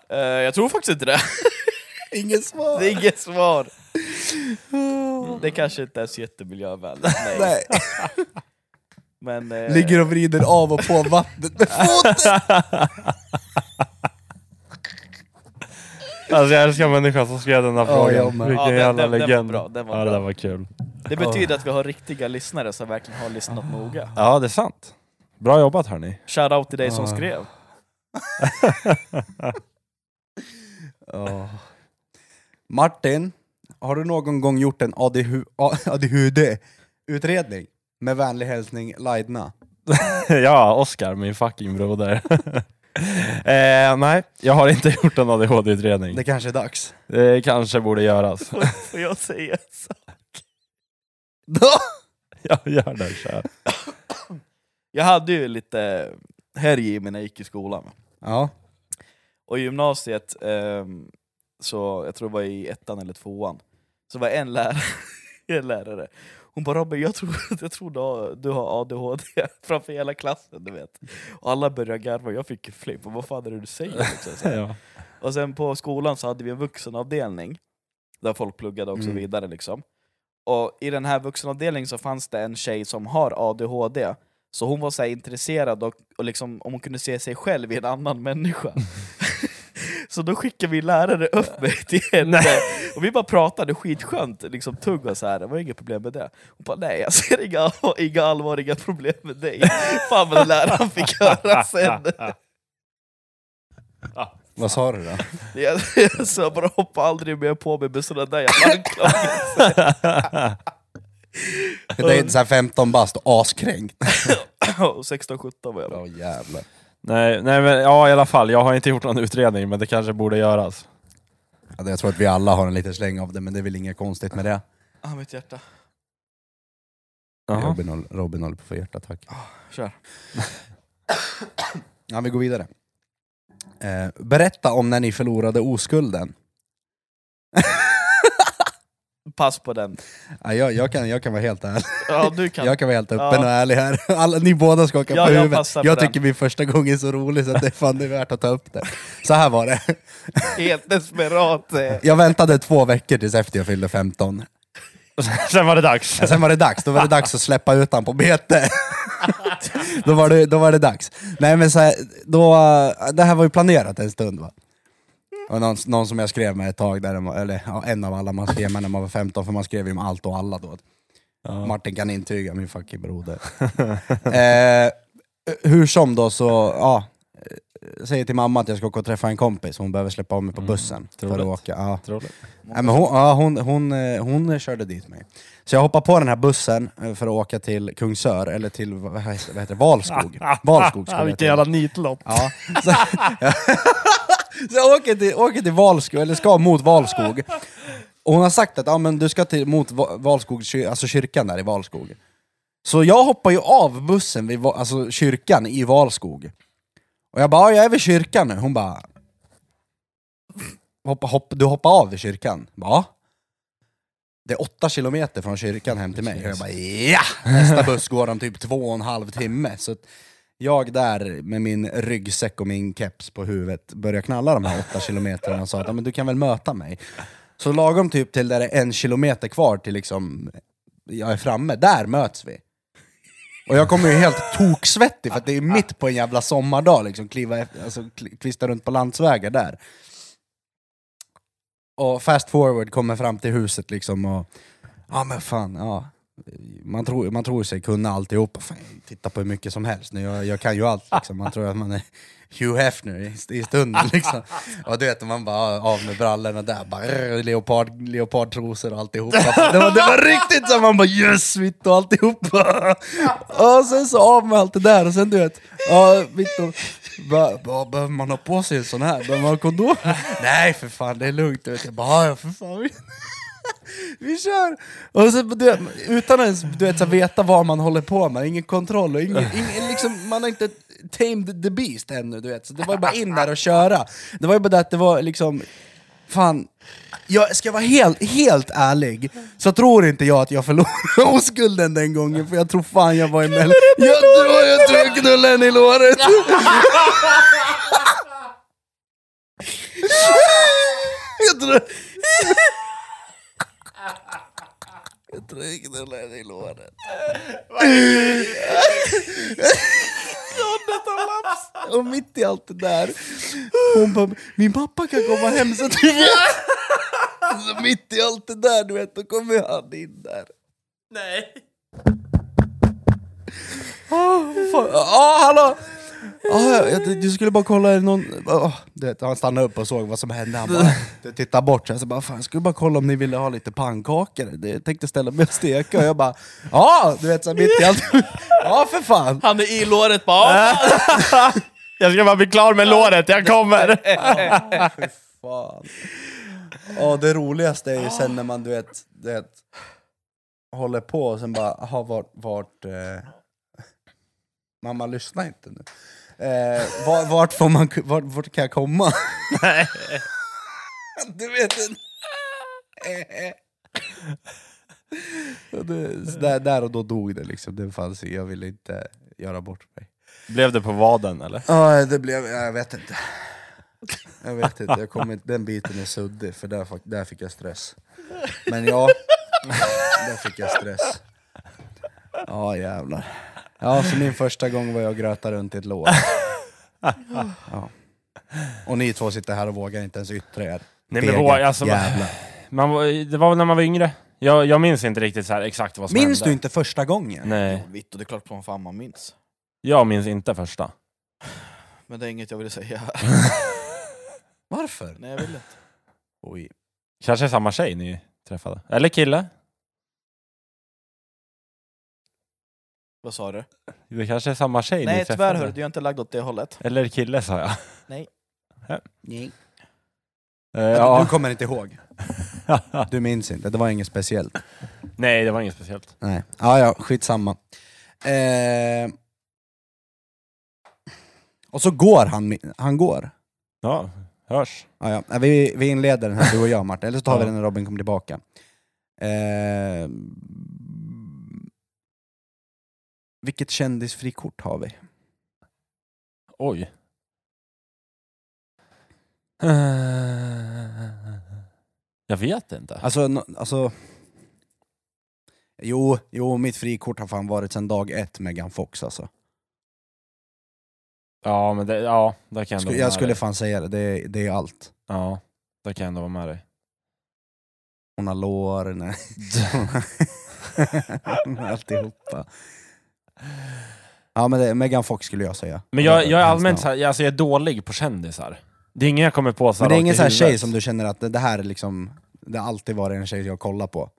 C: Eh, jag tror faktiskt inte det.
A: Inget svar!
C: Det är inget svar. Det kanske inte är så jättemiljövänligt.
A: Nej.
C: Nej. Men, eh,
A: Ligger och vrider av och på vattnet med foten!
B: Alltså jag älskar människan som skrev den här
A: Ja,
B: frågan.
A: jag med.
B: Vilken
C: Ja, den-
B: jävla
C: den- den var
B: legend.
C: bra, den var
B: ja, det
C: bra.
B: där var kul.
C: det betyder att vi har riktiga lyssnare som verkligen har lyssnat noga.
B: Ja, det är sant. Bra jobbat hörni.
C: Shoutout till dig som
A: Ja.
C: skrev.
A: Ja. Martin, har du någon gång gjort en ADHD-utredning? Med vänlig hälsning Laidna.
B: ja, Oscar, min fucking broder. eh, nej, jag har inte gjort en ADHD-utredning.
A: Det kanske är dags.
B: Det kanske borde göras.
C: Får jag säga så?
B: jag gör det, kör.
C: Jag hade ju lite helg i när jag gick i skolan.
A: Ja.
C: Och i gymnasiet, ehm, så jag tror det var i ettan eller tvåan, så var en lärare, en lärare. Hon bara Robin, jag tror, jag tror du, har, du har ADHD framför hela klassen, du vet. Och alla började garva, jag fick ju flipp, och vad fan är det du säger? Liksom, så här.
B: Ja.
C: Och sen på skolan så hade vi en vuxenavdelning, där folk pluggade och så
A: Mm.
C: vidare. Liksom. Och i den här vuxenavdelningen så fanns det en tjej som har ADHD, så hon var så här intresserad och, och liksom, om hon kunde se sig själv i en annan människa. så då skickade vi lärare upp mig till henne, och vi bara pratade skitskönt, liksom tugg och så här. det var inget problem med det. Hon bara nej, jag ser inga, inga allvarliga problem med dig. Fan vad läraren fick höra sen.
A: Vad sa du då?
C: Jag, jag sa bara hoppa aldrig mer på mig med sådana där jävla anklagelser.
A: Det är så här 15 bast och askränkt.
C: Och 16-17 var jag.
A: Ja jävlar.
B: nej, nej, men ja i alla fall. Jag har inte gjort någon utredning, men det kanske borde göras.
A: Ja, det- Jag tror att vi alla har en liten släng av det, men det är väl inget konstigt med det.
C: Ah, mitt hjärta.
B: Jaha.
A: Robin, håll- Robin håller på att få hjärtattack.
C: Ah, kör.
A: ja, vi går vidare. Eh, berätta om när ni förlorade oskulden.
C: Pass på den.
A: Ja, jag, jag, kan, jag kan vara helt ärlig.
C: Ja, du kan.
A: Jag kan vara helt öppen
C: Ja.
A: och ärlig här. Alla, ni båda skakar
C: Ja,
A: på
C: jag
A: huvudet.
C: passar
A: Jag,
C: på den.
A: tycker min första gång är så rolig så att det är fan det är värt att ta upp det. Så här var det.
C: Helt desperat. eh.
A: Jag väntade två veckor tills efter jag fyllde 15.
B: Sen var det dags.
A: Sen var det dags, då var det dags att släppa ut han på bete. då, var det, då var det dags. Nej men så här, då, det här var ju planerat en stund va. Och någon, någon som jag skrev med ett tag, där, eller ja, en av alla man skrev med när man var 15, för man skrev ju om allt och alla då. Martin kan intyga, min fucking broder. eh, hur som då så, ja. eh, Säger till mamma att jag ska åka och träffa en kompis, hon behöver släppa av mig på bussen för att
B: troligt.
A: åka. Ja.
B: Otroligt.
A: Nej, men hon, ja, hon, hon, eh, hon körde dit mig. Så jag hoppade på den här bussen eh, för att åka till Kungsör, eller till vad heter vad heter det? Valskog. Valskog skulle jag
B: Vilken
A: till.
B: jävla nitlott.
A: Ja. Så, så jag åker till, åker till Valskog, eller ska mot Valskog. Och hon har sagt att ja, men du ska till, mot Va- Valskog, kyr- alltså kyrkan där i Valskog. Så jag hoppar ju av bussen vid Va- alltså kyrkan i Valskog. Och jag bara, ja, jag är vid kyrkan nu. Hon bara... Hoppa, hopp, du hoppar av vid kyrkan? Ja. Det är åtta kilometer från kyrkan hem till mig. Och jag bara, ja! Nästa buss går om typ två och en halv timme. Så att jag där med min ryggsäck och min keps på huvudet börjar knalla de här åtta kilometerna och sa att "Ja, men du kan väl möta mig. Så lagom typ till där det är en kilometer kvar till liksom jag är framme, där möts vi. Och jag kommer ju helt toksvettig för att det är mitt på en jävla sommardag, liksom, kliva efter, alltså, kli- kvista runt på landsvägar där. Och fast forward kommer fram till huset liksom och, ja men fan, ja. Man tror, man tror sig kunna alltihop, fan, titta på hur mycket som helst, nu, jag, jag kan ju allt liksom. Man tror att man är Hugh Hefner i, st- i stunden liksom. Och du vet, man bara av med brallorna där, bara, rrr, leopard, leopardtrosor och alltihopa. Det var, det var riktigt så man bara yes, vitt och alltihopa. Och sen så av med allt det där och sen du vet, ja, vitt och, bara, bara, behöver man ha på sig en sån här? Behöver man ha kondom? Nej för fan, det är lugnt. Du vet. Jag bara, ja för fan. Vi kör! Och så, du, vet, utan ens du vet, så här, veta vad man håller på med, ingen kontroll och ingen, ingen, liksom, man har inte tamed the beast ännu. Du vet. Så det var ju bara in där och köra. Det var ju bara det att det var liksom, fan, jag ska vara helt, helt ärlig, så tror inte jag att jag förlorade oskulden den gången, för jag tror fan jag var i mellan... Jag, tror- jag tror jag knullade henne i låret! Jag tror... Jag tror jag knullade henne i låret. Och mitt i allt det där, hon bara min pappa kan komma hem så att du vet. Så mitt i allt det där du vet, då kommer han in där. Nej. Ja, hallå! Ah, jag, jag, du skulle bara kolla, är det någon... ah, du vet, han stannade upp och såg vad som hände, han bara du vet, tittade bort, så jag bara fan, jag skulle bara kolla om ni ville ha lite pannkakor, Det- jag tänkte ställa mig och steka, och jag bara ja, du vet så här, mitt i allt, ja för fan!
F: Han är i låret bara.
B: Jag ska bara bli klar med låret, jag kommer!
A: Fan. Ja, det roligaste är ju sen när man du vet, du vet håller på och sen bara, aha, vart... vart eh... Mamma, lyssna inte nu. Eh, vart, vart, får man, vart, vart kan jag komma? du vet inte. Så det, så där, där och då dog det liksom, det fanns, jag ville inte göra bort mig.
B: Blev det på vaden eller?
A: Ja, det blev... Jag vet inte. Jag vet inte, jag kommer inte den biten är suddig, för där, fa- där fick jag stress. Men ja, där fick jag stress. Ja, jävlar. Ja, så min första gång var jag och grötade runt i ett lår. Ja. Och ni två sitter här och vågar inte ens yttra er.
B: Nej, men
A: Fega
B: våga, alltså, man-
A: jävlar.
B: Man, var- det var väl när man var yngre. Jag, jag minns inte riktigt så här exakt vad som
A: Minns du
B: hände.
A: inte första gången?
B: Nej,
C: Vitt och det är klart som fan man minns.
B: jag minns inte första.
C: Men det är inget jag ville säga.
A: Varför?
C: Nej jag vill inte.
A: Oj.
B: Kanske samma tjej ni träffade? Eller kille?
C: Vad sa du?
B: Det kanske är samma tjej ni
C: Nej
B: träffade?
C: tyvärr hörru, du är inte lagd åt det hållet.
B: Eller kille sa jag.
A: Nej.
B: Eh,
A: Du
B: ja.
A: kommer inte ihåg? Du minns inte? Det var inget speciellt?
B: Nej, det var inget speciellt.
A: Nej, ja ja, skitsamma. Eh... Och så går han, mi- han går.
B: Ja, hörs.
A: Ja, ja. Nej, Vi, vi inleder den här, du och jag Martin, eller så tar vi
B: Ja.
A: den när Robin kommer tillbaka. Eh... Vilket kändisfrikort har vi?
B: Oj. Jag vet inte.
A: Alltså, no, alltså... Jo, jo, mitt frikort har fan varit sedan dag ett Megan Fox alltså.
B: Ja, men det, ja, där kan jag ändå
A: Sku-
B: vara
A: jag
B: med
A: skulle
B: dig.
A: fan säga det, det, är- det är allt.
B: Ja, där kan jag ändå vara med dig.
A: Hon har lår, nej. alltihopa. Ja men det, Megan Fox skulle jag säga.
B: Men jag, jag är
A: Hands
B: allmänt
A: down.
B: så här, jag- alltså jag är dålig på kändisar. Det är ingen jag kommer på så här
A: Men det är
B: rakt
A: ingen
B: i
A: sån här
B: huvudet.
A: tjej som du känner att det, det här är liksom, det har alltid varit en tjej jag kollar på.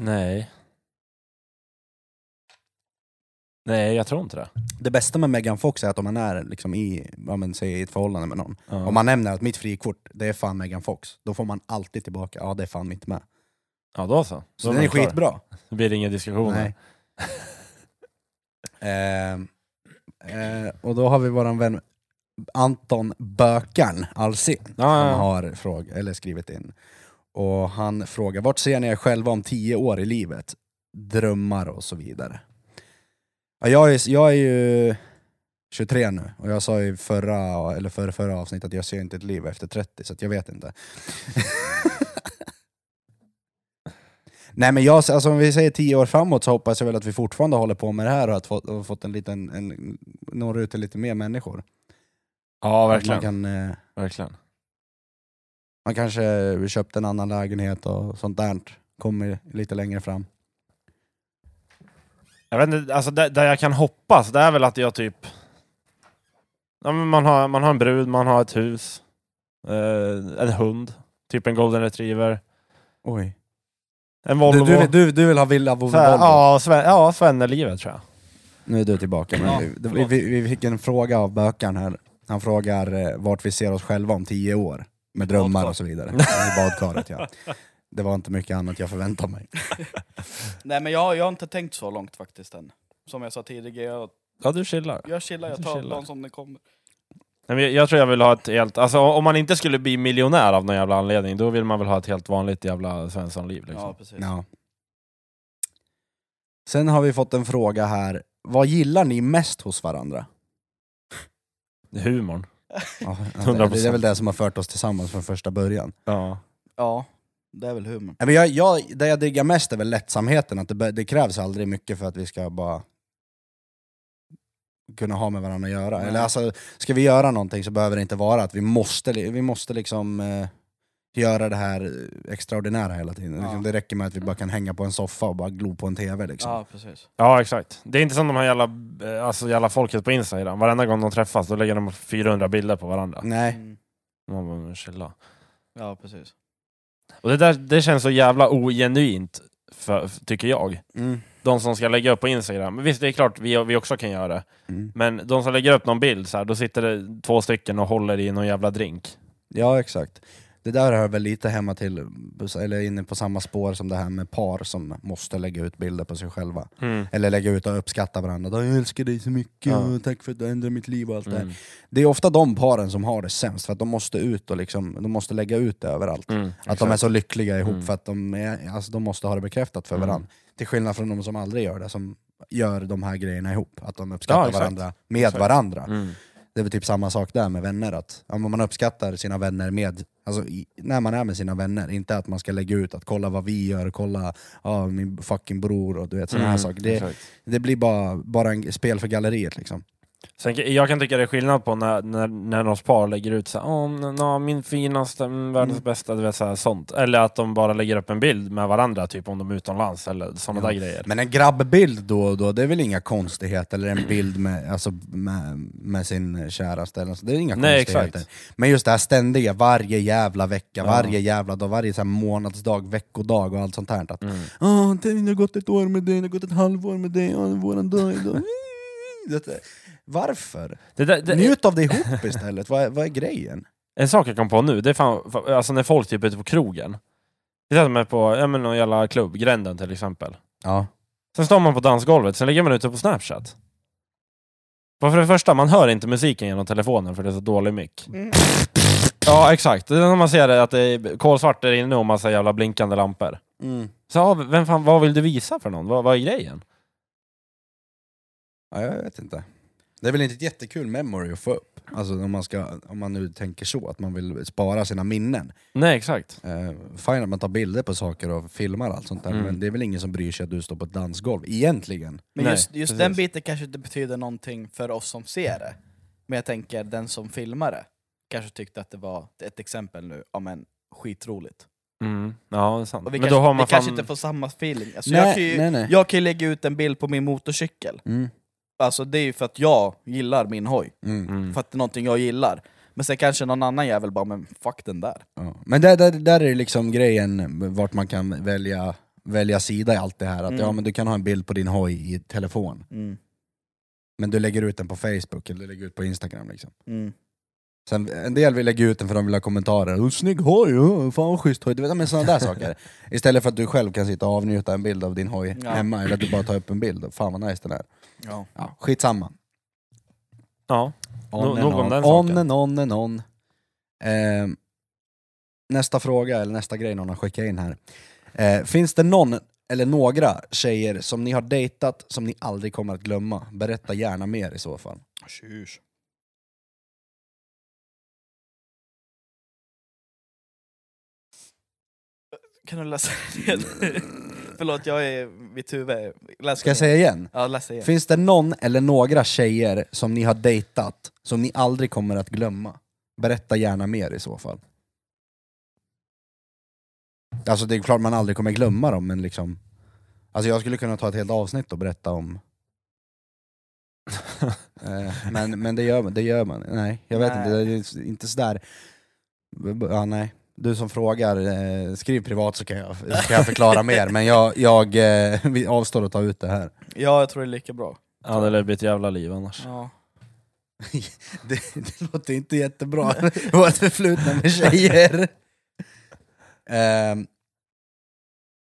B: Nej. Nej, jag tror inte det.
A: Det bästa med Megan Fox är att om man är liksom i, ja, men, säg, i ett förhållande med någon,
B: Ja.
A: om man nämner att mitt frikort, det är fan Megan Fox, då får man alltid tillbaka, ja det är fan mitt med.
B: Ja, då så.
A: Så
B: då
A: den är
B: man klar.
A: skitbra.
B: Det blir inga diskussioner.
A: Nej. Ehm, eh, och då har vi våran vän Anton Bökan Alsing
B: Ja,
A: som
B: ja,
A: har fråg- eller skrivit in. Och han frågar, vart ser ni er själva om tio år i livet? Drömmar och så vidare. Ja, jag, är, jag är ju 23 nu, och jag sa i förra, eller förra, förra avsnittet att jag ser inte ett liv efter 30, så att jag vet inte. Nej men jag, alltså, om vi säger tio år framåt så hoppas jag väl att vi fortfarande håller på med det här och att få, och fått en liten, en, når ut till lite mer människor.
B: ja
A: Att
B: verkligen.
A: Man kan, eh,
B: verkligen.
A: man kanske köpte en annan lägenhet och sånt där. Kommer lite längre fram.
B: Jag vet inte, alltså där, där jag kan hoppas, det är väl att jag typ... Ja, men man, har, man har en brud, man har ett hus, eh, en hund, typ en golden retriever,
A: Oj.
B: en
A: Du,
B: Volvo.
A: du, du, du vill ha villa Volvo?
B: så här, ja, Sven, ja, Svennelivet tror jag.
A: Nu är du tillbaka. Men
B: Ja,
A: vi- det-
B: förlåt.
A: vi, vi fick en fråga av Bökan här. Han frågar eh, vart vi ser oss själva om tio år. Med drömmar
C: badkar.
A: och så vidare. I badkaret ja. Det var inte mycket annat jag förväntade mig.
C: Nej men jag, jag har inte tänkt så långt faktiskt än. Som jag sa tidigare, jag,
B: Ja, du chillar.
C: jag chillar, jag
B: Du
C: tar
B: chillar.
C: dem som det kommer.
B: Nej, men jag, jag tror jag vill ha ett helt... Alltså om man inte skulle bli miljonär av någon jävla anledning, då vill man väl ha ett helt vanligt jävla Svenssonliv liksom.
C: Ja, precis.
A: Ja. Sen har vi fått en fråga här. Vad gillar ni mest hos varandra?
B: Humorn.
A: Ja, det, det är
B: 100%.
A: väl det som har fört oss tillsammans från första början.
B: Ja.
C: Ja, det är väl humorn.
A: Nej, Men jag, jag, det jag diggar mest är väl lättsamheten, att det, be- det krävs aldrig mycket för att vi ska bara kunna ha med varandra att göra.
C: Nej.
A: Eller alltså, ska vi göra någonting så behöver det inte vara att vi måste, li- vi måste liksom eh, göra det här eh, extraordinära hela tiden.
C: Ja.
A: Liksom, det räcker med att vi bara kan hänga på en soffa och bara glo på en TV liksom.
C: Ja, precis.
B: ja, exakt. Det är inte som de här jävla, eh, alltså, jävla folket på Instagram. Varenda gång de träffas då lägger de 400 bilder på varandra.
A: Nej.
C: Mm.
B: Man bara, men chilla.
C: Ja, precis.
B: Och det där det känns så jävla ogenuint, för, för- tycker jag.
A: Mm.
B: De som ska lägga upp på Instagram. Visst, det är klart vi, vi också kan göra det.
A: Mm.
B: Men de som lägger upp någon bild så här, då sitter det två stycken och håller i någon jävla drink.
A: Ja, exakt. Det där hör väl lite hemma till, eller inne på samma spår som det här med par som måste lägga ut bilder på sig själva.
B: Mm.
A: Eller lägga ut och uppskatta varandra. Jag älskar dig så mycket,
B: Ja.
A: och tack för att du ändrade mitt liv och allt det
B: Mm.
A: här. Det är ofta de paren som har det sämst, för att de måste ut och liksom, de måste lägga ut det överallt.
B: Mm,
A: Att
B: exakt.
A: de är så lyckliga ihop
B: Mm.
A: för att de, är, alltså de måste ha det bekräftat för
B: Mm.
A: varandra. Till skillnad från de som aldrig gör det, som gör de här grejerna ihop. Att de uppskattar
B: Ja, exakt.
A: varandra med
B: Exakt.
A: varandra.
B: Mm.
A: Det är väl typ samma sak där med vänner, att ja, men man uppskattar sina vänner med, alltså, i, när man är med sina vänner, inte att man ska lägga ut att kolla vad vi gör, kolla ja, min fucking bror och du vet sådana här
B: Mm,
A: saker. Det,
B: exakt.
A: det blir bara, bara en spel för galleriet liksom.
B: Sen, kan- jag kan tycka det är skillnad på när, när, när någons par lägger ut så här, "Åh, n- nå, min finaste, mm, världens
A: Mm.
B: bästa, du vet, så här, sånt. Eller att de bara lägger upp en bild med varandra, typ om de är utomlands eller sådana
A: Ja.
B: där grejer.
A: Men en grabbbild då och då, det är väl inga konstigheter? Eller en bild med, alltså, med, med sin käraste, eller så. det är inga
B: Nej,
A: konstigheter.
B: exakt.
A: Men just det här ständiga, varje jävla vecka,
B: Ja.
A: varje jävla dag, varje så här månadsdag, veckodag och allt sånt här. Att,
B: Mm.
A: Åh, det Ah, har gått ett år med dig, det har gått ett halvår med dig, åh, det är våran dag idag. Det- Varför?
B: Det där, det,
A: Njut av det ihop istället, vad är, vad är grejen?
B: En sak jag kom på nu, det är fan, fa- alltså när folk typ är ute på krogen. Det är som är på ja, men någon jävla klubb, Gränden till exempel.
A: Ja.
B: Sen står man på dansgolvet, sen lägger man ut det på Snapchat. Bara för det första, man hör inte musiken genom telefonen för det är så dålig mick. Ja, exakt. Det är när man ser det, att det är kolsvart där inne och massa jävla blinkande lampor.
A: Mm.
B: Så, ja, vem fan, vad vill du visa för någon? Vad, vad är grejen?
A: ja, jag vet inte. Det är väl inte ett jättekul memory att få upp? Alltså om man, ska, om man nu tänker så, att man vill spara sina minnen.
B: Nej exakt.
A: Eh, fine att man tar bilder på saker och filmar allt sånt där,
B: Mm.
A: men det är väl ingen som bryr sig att du står på ett dansgolv, egentligen.
C: Men
B: Nej,
C: just, just
B: precis.
C: den biten kanske inte betyder någonting för oss som ser det. Men jag tänker den som filmar det kanske tyckte att det var ett exempel nu, ja men skitroligt.
B: Mm. Ja det är sant.
C: Och vi
B: Men
C: kanske,
B: då har man
C: vi kanske
B: fan...
C: inte får samma feeling. Alltså
A: Nej,
C: jag, kan ju,
A: nej, nej.
C: jag kan ju lägga ut en bild på min motorcykel,
A: Mm.
C: alltså det är ju för att jag gillar min hoj,
A: Mm.
B: Mm.
C: för att det är någonting jag gillar. Men sen kanske någon annan jävel bara, men fuck den där.
A: Ja. Men där, där, där är liksom grejen vart man kan välja, välja sida i allt det här. Att
C: Mm.
A: ja, men du kan ha en bild på din hoj i telefon,
C: Mm.
A: men du lägger ut den på Facebook eller du lägger ut på Instagram. Liksom.
C: Mm.
A: Sen, en del vill lägga ut den för de vill ha kommentarer. "Åh, Snygg hoj, åh, fan vad schysst hoj. Du vet, men sådana där saker. Istället för att du själv kan sitta och avnjuta en bild av din hoj
C: Ja.
A: hemma, eller att du bara tar upp en bild. och Fan vad nice den är.
C: Ja.
A: Ja, skitsamma.
B: Ja.
A: On
B: Nå-
A: and
B: nog om
A: on.
B: den
A: on
B: saken.
A: and on and on. Ehm, nästa fråga, eller nästa grej någon har skickat in här. Eh, finns det någon eller några tjejer som ni har dejtat som ni aldrig kommer att glömma? Berätta gärna mer i så fall.
C: Tjus. Kan du läsa det? Förlåt, jag är mitt huvud. Läs
A: Ska jag säga igen?
C: Ja, läs det igen.
A: Finns det någon eller några tjejer som ni har dejtat som ni aldrig kommer att glömma? Berätta gärna mer i så fall. Alltså det är klart man aldrig kommer glömma dem, men liksom... Alltså jag skulle kunna ta ett helt avsnitt och berätta om... Eh, men men det, gör, man- det gör man. Nej, jag vet
C: Nej.
A: inte. Det är inte sådär... Ja, nej. Du som frågar, eh, skriv privat så kan jag, så kan jag förklara mer. Men jag, jag eh, vi avstår att ta ut det här.
C: Ja, jag tror det är lika bra.
B: Ja det lär bli ett jävla liv annars.
C: Ja.
A: Det, det låter inte jättebra, vårt förflutna med tjejer. Ehm,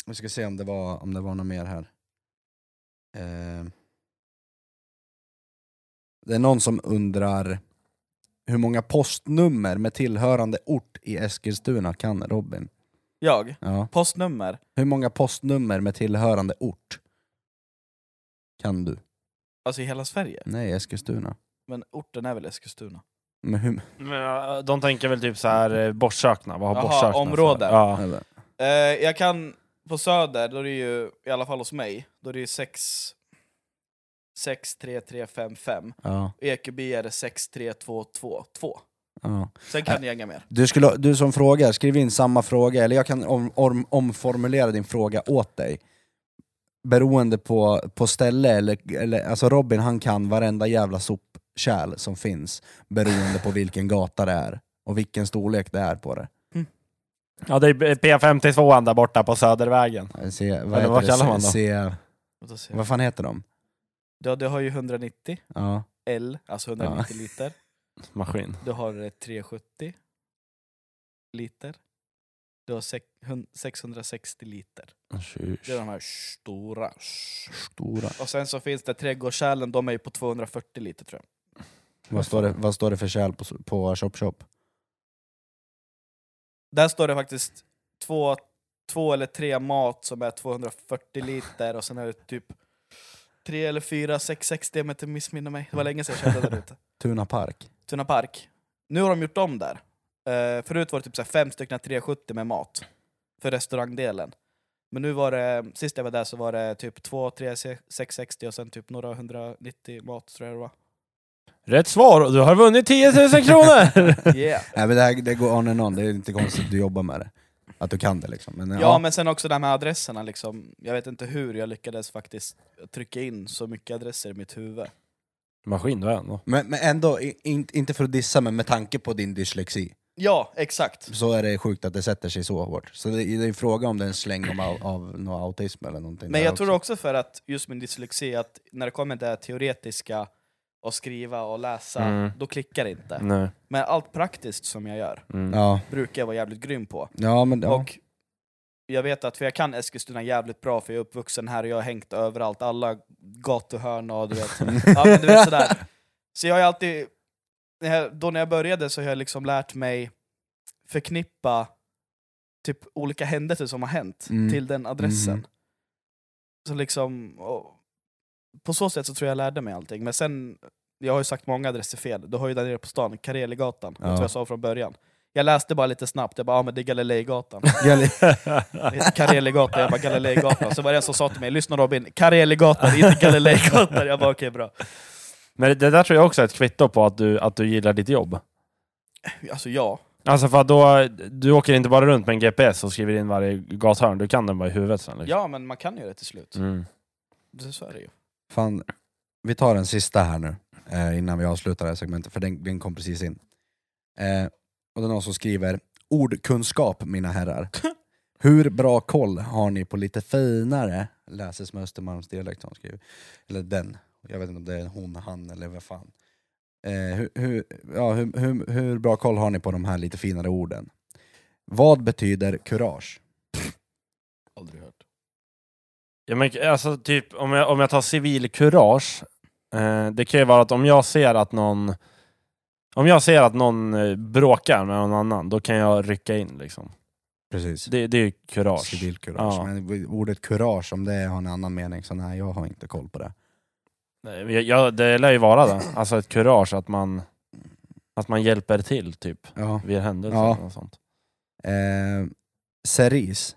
A: vi ska se om det var, om det var något mer här. Ehm. det är någon som undrar hur många postnummer med tillhörande ort i Eskilstuna kan Robin?
C: Jag?
A: Ja.
C: Postnummer?
A: Hur många postnummer med tillhörande ort kan du?
C: Alltså i hela Sverige?
A: Nej, Eskilstuna.
C: Men orten är väl Eskilstuna?
A: Men hur,
B: Men, äh, de tänker väl typ så här eh, Borssökna, vad har
C: Jaha,
B: Borssökna
C: områden.
B: för? Ja.
A: eller?
C: Eh, jag kan... På Söder, då är det ju, i alla fall hos mig, då är det ju 6... 63355.
A: Ja,
C: Och Ekeby är det 63222.
A: ja.
C: Sen kan jag inga mer.
A: Du, skulle, du som frågar, skriv in samma fråga, eller jag kan om, om, omformulera din fråga åt dig. Beroende på, på ställe, eller, eller, alltså Robin han kan varenda jävla sopkärl som finns, beroende på vilken gata det är och vilken storlek det är på det.
B: ja det är P52 där borta på Södervägen.
A: Se, vad,
B: Eller
A: heter
B: vad
A: det?
B: kallar man
A: Se-
B: då?
A: Se,
C: Låt oss se.
A: vad fan heter de?
C: Ja, du har ju 190
A: Ja.
C: L, alltså 190 liter.
B: Maskin.
C: Du har eh, 370 liter. Du har sek- hun- 660 liter. Det är de här stora.
A: Stora.
C: Och sen så finns det trädgårdskärlen, de är ju på 240 liter tror jag.
A: Vad står det, vad står det för kärl på, på Shop Shop?
C: Där står det faktiskt två, två eller tre mat som är 240 liter och sen är det typ tre eller fyra 660 om jag inte missminner mig. Det var länge sedan jag körde där ute.
A: Tuna Park?
C: Tuna Park. Nu har de gjort om där. Eh, förut var det typ så här fem stycken 370 med mat för restaurangdelen. Men nu var det, sist jag var där så var det typ 2, 3, 660 och sen typ några 190 mat tror jag det var.
B: Rätt svar och du har vunnit 10 000 kronor!
C: Yeah.
A: Nej men det, här, det går on and on, det är inte konstigt att du jobbar med det. Att du kan det liksom. Men,
C: Ja men sen också det här med adresserna liksom. Jag vet inte hur jag lyckades faktiskt trycka in så mycket adresser i mitt huvud.
B: Maskin du är ändå.
A: Men, men ändå, i- in, inte för att dissa, men med tanke på din dyslexi
C: Ja, exakt.
A: så är det sjukt att det sätter sig så hårt. Så det, det är ju fråga om det är en släng om, av, av någon autism eller någonting.
C: Men
A: där
C: jag tror också för att just min dyslexi, att när det kommer det här teoretiska och skriva och läsa,
B: Mm.
C: då klickar det inte.
B: Nej.
C: Men allt praktiskt som jag gör,
B: Mm.
A: Ja,
C: brukar jag vara jävligt grym på.
A: ja men ja.
C: Och jag vet att, för jag kan Eskilstuna jävligt bra för jag är uppvuxen här och jag har hängt överallt, alla gatuhörn och du vet, ja, men du vet sådär. Så jag har ju alltid, när jag- då när jag började så har jag liksom lärt mig förknippa typ olika händelser som har hänt
A: Mm.
C: till den adressen.
A: Mhm.
C: Så liksom, och på så sätt så tror jag jag lärde mig allting, men sen jag har ju sagt många adresser fel, du har ju där nere på stan, Kareligatan,
A: Ja.
C: vet du vad jag sa från början. Jag läste bara lite snabbt, jag bara ah, men det är Galileigatan.
A: Gali-
C: Det heter Kareligatan, jag bara Galileigatan. Så var det en som sa till mig, lyssna Robin, Kareligatan, inte Galileigatan. Jag bara okej bra.
B: Men det- det där tror jag också är ett kvitto på att du, att du gillar ditt jobb.
C: Alltså ja,
B: Alltså för att då, du åker inte bara runt med en GPS och skriver in varje gathörn, du kan den bara i huvudet sen. Liksom.
C: ja men man kan ju det till slut.
B: Mm.
C: Det- Så är det ju.
A: Fan, vi tar den sista här nu, eh, innan vi avslutar det här segmentet, för den, den kom precis in. Eh, och det är någon som skriver, ordkunskap mina herrar. Hur bra koll har ni på lite finare, läses med Östermalmsdialekt hon skriver. Eller den, jag vet inte om det är hon, han eller vad fan. Eh, hur, hur, ja, hur, hur, hur bra koll har ni på de här lite finare orden? Vad betyder kurage?
C: Aldrig hört.
B: Ja, men, alltså, typ, om, jag, om jag tar civilkurage, eh, det kan ju vara att om jag ser att någon om jag ser att någon eh, bråkar med någon annan, då kan jag rycka in. Liksom.
A: Precis.
B: Det, det är ju kurage.
A: Civilkurage.
B: Ja.
A: Men ordet kurage, om det har en annan mening, så nej, jag har inte koll på det.
B: Nej, men Jag, jag, det lär ju vara det. Alltså ett kurage, att man, att man hjälper till typ
A: Ja.
B: vid händelser.
A: Ja.
B: Ja. Och sånt.
A: Eh, seris.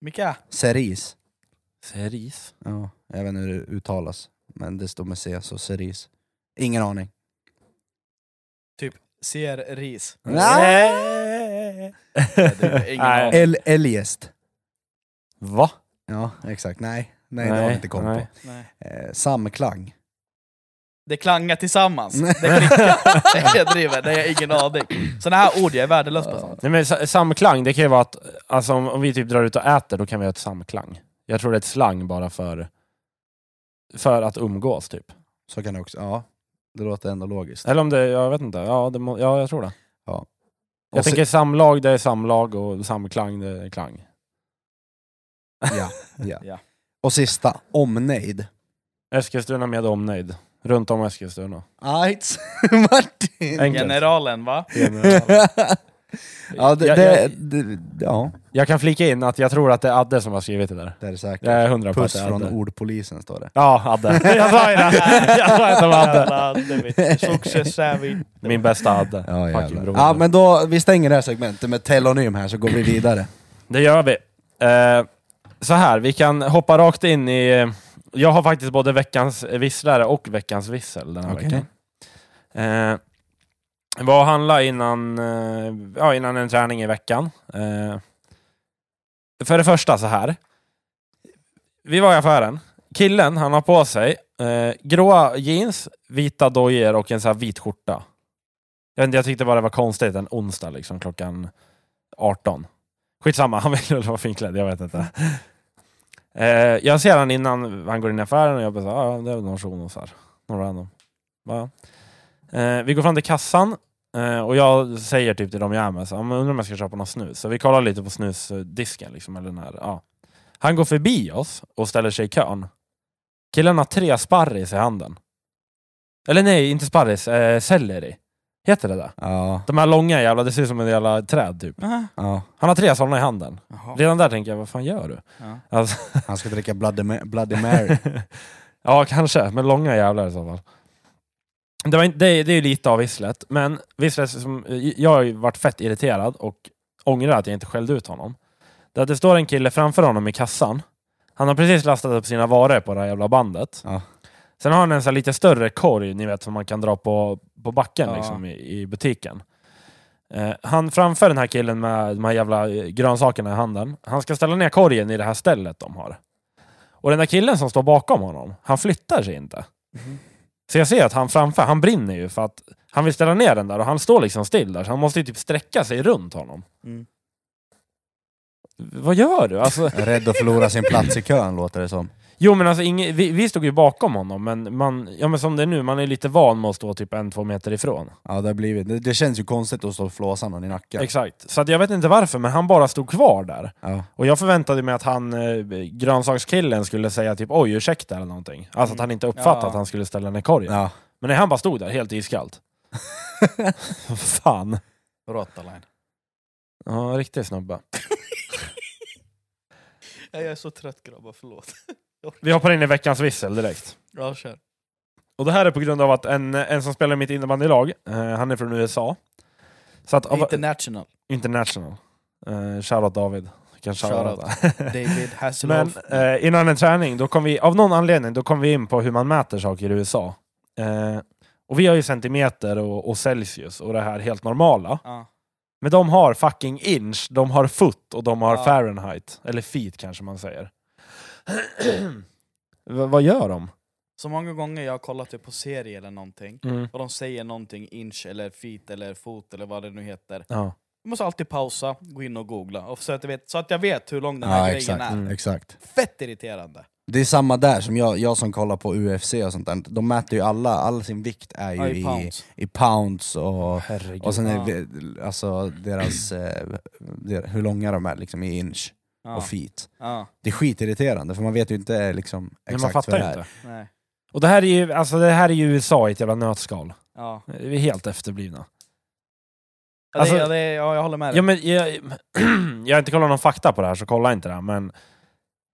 C: Mika,
A: Seris.
B: Seris?
A: Ja, jag vet inte hur det uttalas, men det står med C, så seris. Ingen aning.
C: ser ris.
B: Nej!
C: det är ingen aning.
A: El eljest.
B: Va?
A: Ja, exakt. Nej, nej, det har vi inte koll
B: nej.
C: Nej.
A: på. Eh, samklang.
C: Det klangar tillsammans. Det klickar. Nej, jag driver, nej jag har ingen aning. Sådana här ord, jag är värdelös på sånt.
B: Nej, men sa- samklang, det kan ju vara att alltså, om, om vi typ drar ut och äter, då kan vi ha ett samklang. Jag tror det är ett slang bara för, för att umgås typ.
A: Så kan det också, ja. Det låter ändå logiskt.
B: Eller om det, jag vet inte, ja, det må, ja jag tror det.
A: Ja.
B: Jag
A: Och se-
B: tänker samlag, det är samlag och samklang, det är klang.
A: Ja, ja.
C: Ja.
A: Och sista, omnejd.
B: Eskilstuna med omnejd. Runt om Eskilstuna.
A: Ajts, Martin!
B: Enkelt.
C: Generalen va?
A: Ja, det,
B: jag,
A: det,
B: jag,
A: det, ja,
B: jag kan flika in att jag tror att det är Adde som har skrivit det där.
A: det är det säkert.
B: Jag är hundra på att
A: Puss
B: det är
A: från
B: Adde.
A: ordpolisen står det.
B: Ja, Adde. Jag sa ju det! Jag sa att det var Adde.
C: Jävla, det vet jag. Successavit.
B: Min bästa Adde.
A: Ja,
B: Fucking
A: jävlar.
B: broder.
A: ja men då, vi stänger det här segmentet med telonym här så går vi vidare.
B: Det gör vi. Eh, så här, vi kan hoppa rakt in i... Jag har faktiskt både veckans visslare och veckans vissel den här
A: Okej.
B: veckan. Eh, var och handla innan, eh, ja, innan en träning i veckan. Eh, för det första så här. Vi var i affären. Killen, han har på sig eh, gråa jeans, vita dojor och en så här vit skjorta. Jag, vet inte, jag tyckte bara det var konstigt en onsdag liksom, klockan 18. Skitsamma, han ville väl vara finklädd, jag vet inte. Eh, jag ser han innan han går in i affären och jag bara så här, ah, det är väl någon shuno så här. Någon random. Va? Eh, vi går fram till kassan eh, och jag säger typ till dem jag är med, så, här, "Ah, men undrar om jag ska köpa någon snus. Så vi kollar lite på snusdisken liksom, eller den här, ja. Han går förbi oss och ställer sig i kön. Killen har tre sparris i handen. Eller nej, inte sparris, eh, selleri. Heter det det?
A: Ja,
B: De här långa jävla, det ser ut som en jävla träd typ.
A: ja.
B: Han har tre sådana i handen.
C: Jaha.
B: Redan där tänker jag, vad fan gör du?
C: Ja.
B: Alltså,
A: Han ska dricka Bloody, Ma- Bloody Mary.
B: ja, kanske, men långa jävlar i så fall. Det, var inte, det, är- det är ju lite av visslet, men visslet som, jag har ju varit fett irriterad och ångrar att jag inte skällde ut honom. Det, är att det står en kille framför honom i kassan. Han har precis lastat upp sina varor på det här jävla bandet.
A: Ja.
B: Sen har han en sån här lite större korg, ni vet, som man kan dra på, på backen
C: Ja.
B: liksom, i, i butiken. Eh, han framför den här killen med de här jävla eh, grönsakerna i handen. Han ska ställa ner korgen i det här stället de har. Och den där killen som står bakom honom, han flyttar sig inte. Så jag ser att han framför, han brinner ju för att han vill ställa ner den där och han står liksom still där, så han måste ju typ sträcka sig runt honom.
C: Mm.
B: Vad gör du? Alltså,
A: Rädd att förlora sin plats i kön låter det som.
B: jo men alltså, inge, vi, vi stod ju bakom honom, men, man, ja, men som det är nu, man är lite van med att stå typ en, två meter ifrån.
A: Ja, det, har blivit. det, det känns ju konstigt att stå och flåsa någon i nacken.
B: Exakt. Så att jag vet inte varför, men han bara stod kvar där.
A: Ja.
B: Och jag förväntade mig att han, eh, grönsakskillen, skulle säga typ oj, ursäkta eller någonting. Alltså att han inte uppfattade
C: Mm. Ja.
B: att han skulle ställa ner korgen.
A: Ja.
B: Men nej, han bara stod där helt iskallt. Fan.
C: Rotaline.
B: Ja, riktigt snubbe.
C: Jag är så trött grabbar, förlåt.
B: Vi hoppar in i veckans vissel direkt.
C: Ja, kör.
B: Och det här är på grund av att en, en som spelar i mitt innebandylag, eh, han är från USA. Så att, av-
C: International.
B: international. Eh, shoutout David. Jag Kan
C: Shoutout.
B: shoutout.
C: David
B: Men
C: Hasselhoff.
B: eh, innan en träning, då kom vi, av någon anledning, då kom vi in på hur man mäter saker i USA. Eh, och vi har ju centimeter och, och Celsius och det här helt normala.
C: Ja.
B: Men de har fucking inch, de har foot och de har
C: Ja.
B: Fahrenheit. Eller feet kanske man säger. V- vad gör de?
C: Så många gånger jag har kollat det på serie eller någonting, och de säger någonting inch eller feet eller fot eller vad det nu heter.
B: Ja.
C: Jag måste alltid pausa, gå in och googla, och så, att jag vet, så att jag vet hur lång den här
A: Ja,
C: grejen
A: exakt,
C: är.
B: Mm.
A: exakt.
C: Fett irriterande!
A: Det är samma där som jag, jag som kollar på UFC och sånt där. De mäter ju alla, all sin vikt är ju
C: Ja, i
A: i,
C: pounds.
A: i pounds och,
B: Herregud.
A: och sen är
C: Ja.
A: det, alltså deras, eh, der, hur långa de är liksom i inch
C: Ja.
A: och feet.
C: Ja,
A: Det är skitirriterande för man vet ju inte liksom
B: Men
A: exakt
B: man
A: vad
B: fattar
A: det
B: ju
A: är.
B: inte.
C: nej.
B: Och det här är ju, alltså det här är ju USA i ett jävla nötskal.
C: Ja.
B: Vi är helt efterblivna.
C: Ja,
B: Alltså-
C: det, ja, det, ja, jag håller med dig.
B: Ja, men jag, jag har inte kollat någon fakta på det här, så kolla inte det. Här, men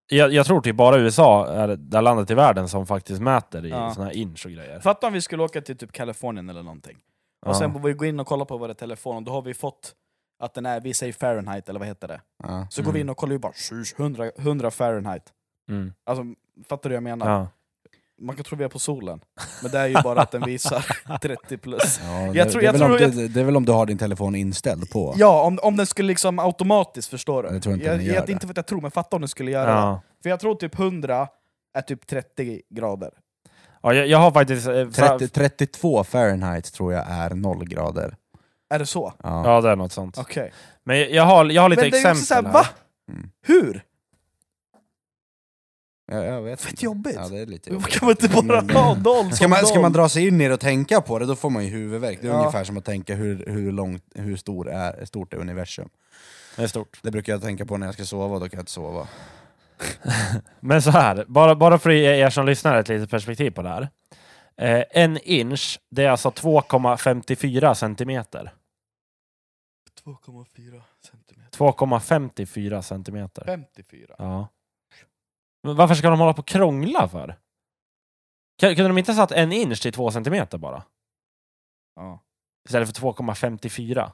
B: jag, jag tror typ bara USA är det här landet i världen som faktiskt mäter i
C: Ja.
B: såna här inch och grejer.
C: Fatta om vi skulle åka till typ Kalifornien eller någonting,
B: Ja.
C: och sen får vi gå in och kolla på våra telefoner, och då har vi fått att den är, vi säger Fahrenheit eller vad heter det?
A: Ja.
C: Så går vi
B: Mm.
C: in och kollar ju bara "Shush, 100, 100 Fahrenheit.
B: Mm.
C: Alltså, fattar du vad jag menar?
B: Ja.
C: Man kan tro vi är på solen, men det är ju bara att den visar 30 plus.
A: Ja, det,
C: Jag tror-
A: det, är
C: jag
A: väl
C: tror
A: om du, det är väl om du har din telefon inställd på?
C: Ja, om, om den skulle liksom automatiskt, förstår du?
A: Jag tror inte
C: jag,
A: den gör
C: jag,
A: det.
C: Inte för att jag tror, men fatta om den skulle göra det.
B: Ja.
C: För jag tror typ 100 är typ 30 grader.
B: Ja, jag, jag har faktiskt... eh, fra-
A: 30, 32 Fahrenheit tror jag är noll grader.
C: Är det så?
A: Ja.
B: Ja, det är något sånt.
C: Okej.
B: Men jag, jag, har, jag har lite
C: Men det är ju
B: exempel
C: också såhär,
B: här.
C: va?
A: Mm.
C: Hur?
A: Jag, jag vet
C: Fett
A: inte.
C: jobbigt.
A: Ja, det är lite jobbigt.
C: Kan man inte bara
A: Men-
C: ha noll
A: Ska
C: som
A: man, ska
C: noll?
A: man dra sig in i det och tänka på det, då får man ju huvudvärk. Det är
C: Ja.
A: ungefär som att tänka hur, hur, långt, hur stor är, stort är universum.
B: Det är stort.
A: Det brukar jag tänka på när jag ska sova, då kan jag inte sova.
B: Men så här, bara, bara för att ge er som lyssnar ett litet perspektiv på det här. Eh, en inch, det är alltså 2,54 centimeter.
C: 2,4 centimeter.
B: 2,54 centimeter.
C: 54.
B: Ja. Men varför ska de hålla på och krångla för? Kan- Kunde de inte ha satt en inch till två centimeter bara?
C: Ja.
B: Istället för 2,54.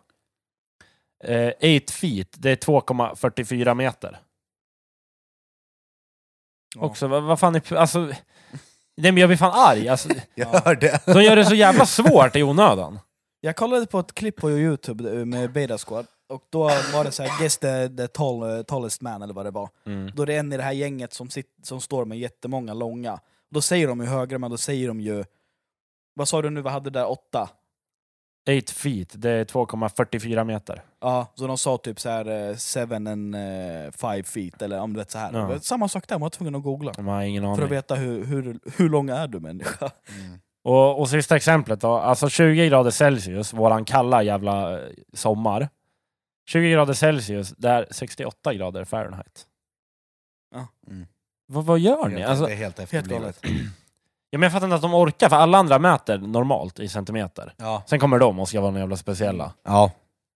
B: Eh, 8 feet, det är 2,44 meter.
C: Ja.
B: Också, vad, vad fan är... Alltså, nej men jag blir fan arg. Alltså,
A: Jag
C: Ja.
A: hörde!
B: de gör det så jävla svårt i onödan.
C: Jag kollade på ett klipp på Youtube med Beta Squad, och då var det så här Guess the, the tall, eh, tallest man eller vad det var. Då är det en i det här gänget som, sit, som står med jättemånga långa. Då säger de ju högre, men då säger de ju... Vad sa du nu, vad hade det där? Åtta?
B: 8 feet, det är 2,44 meter.
C: Ja, så de sa typ så här eh, seven and eh, five feet, eller om det är så här.
B: Ja.
C: Samma sak där, man var tvungen att googla.
B: De har ingen aning.
C: För att veta hur, hur, hur lång är du människa?
B: Och, och sista exemplet då, alltså 20 grader Celsius, våran kalla jävla eh, sommar. 20 grader Celsius, det är 68 grader Fahrenheit.
C: Ja.
A: Mm.
B: Vad, vad gör ni?
A: Helt,
B: Alltså,
A: det är helt
C: Helt
A: efterblivet.
C: galet.
B: ja, men jag fattar inte att de orkar, för alla andra mäter normalt i centimeter.
A: Ja.
B: Sen kommer de och ska vara några jävla speciella.
A: Ja.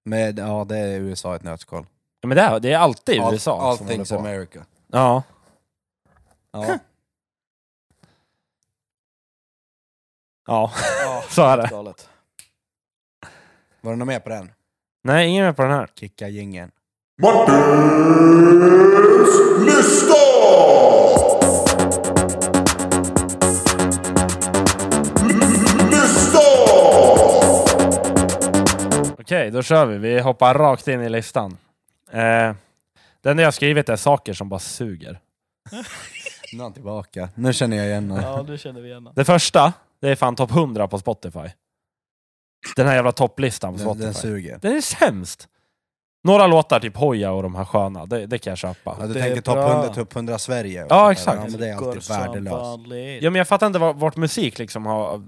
A: Men, ja, det är USA i ett nötskal.
B: Ja, men det, är- det är alltid USA
A: all
B: som håller
A: things
B: på.
A: America.
B: Ja.
A: Ja.
B: ja,
C: Ja,
B: så är det.
C: galet.
A: Var det något mer på den?
B: Nej, ingen med på den här.
A: Kicka gängen.
B: Okej, då kör vi. Vi hoppar rakt in i listan. Eh, den jag har skrivit är saker som bara suger.
A: Nu är han tillbaka. Nu känner jag igen honom.
C: Ja, nu känner vi igen den.
B: Det första, det är fan topp 100 på Spotify. Den här jävla topplistan på
A: Den,
B: Spotify.
A: den
B: Den,
A: suger.
B: är sämst! Några låtar, typ Hoja och de här sköna, det, det kan jag köpa.
A: Ja, du
C: Det är
A: tänker topp
C: bra.
A: 100, topp 100 Sverige? och
B: Ja,
A: sånt där.
B: exakt.
A: Ja, men det är
C: Går
A: alltid
C: som
A: värdelöst.
C: vanligt.
B: Ja, men jag fattar inte vart, vart musik liksom har,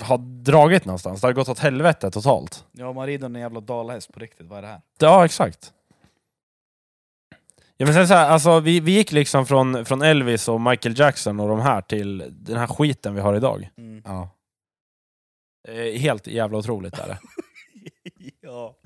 B: har dragit någonstans. Det har gått åt helvete totalt.
C: Ja, man rider en jävla dalahäst på riktigt, vad är det här?
B: Ja, exakt. Ja, men sen så här, alltså, vi, vi gick liksom från, från Elvis och Michael Jackson och de här till den här skiten vi har idag.
C: Mm.
A: Ja.
B: Eh, helt jävla otroligt är det.
C: ja.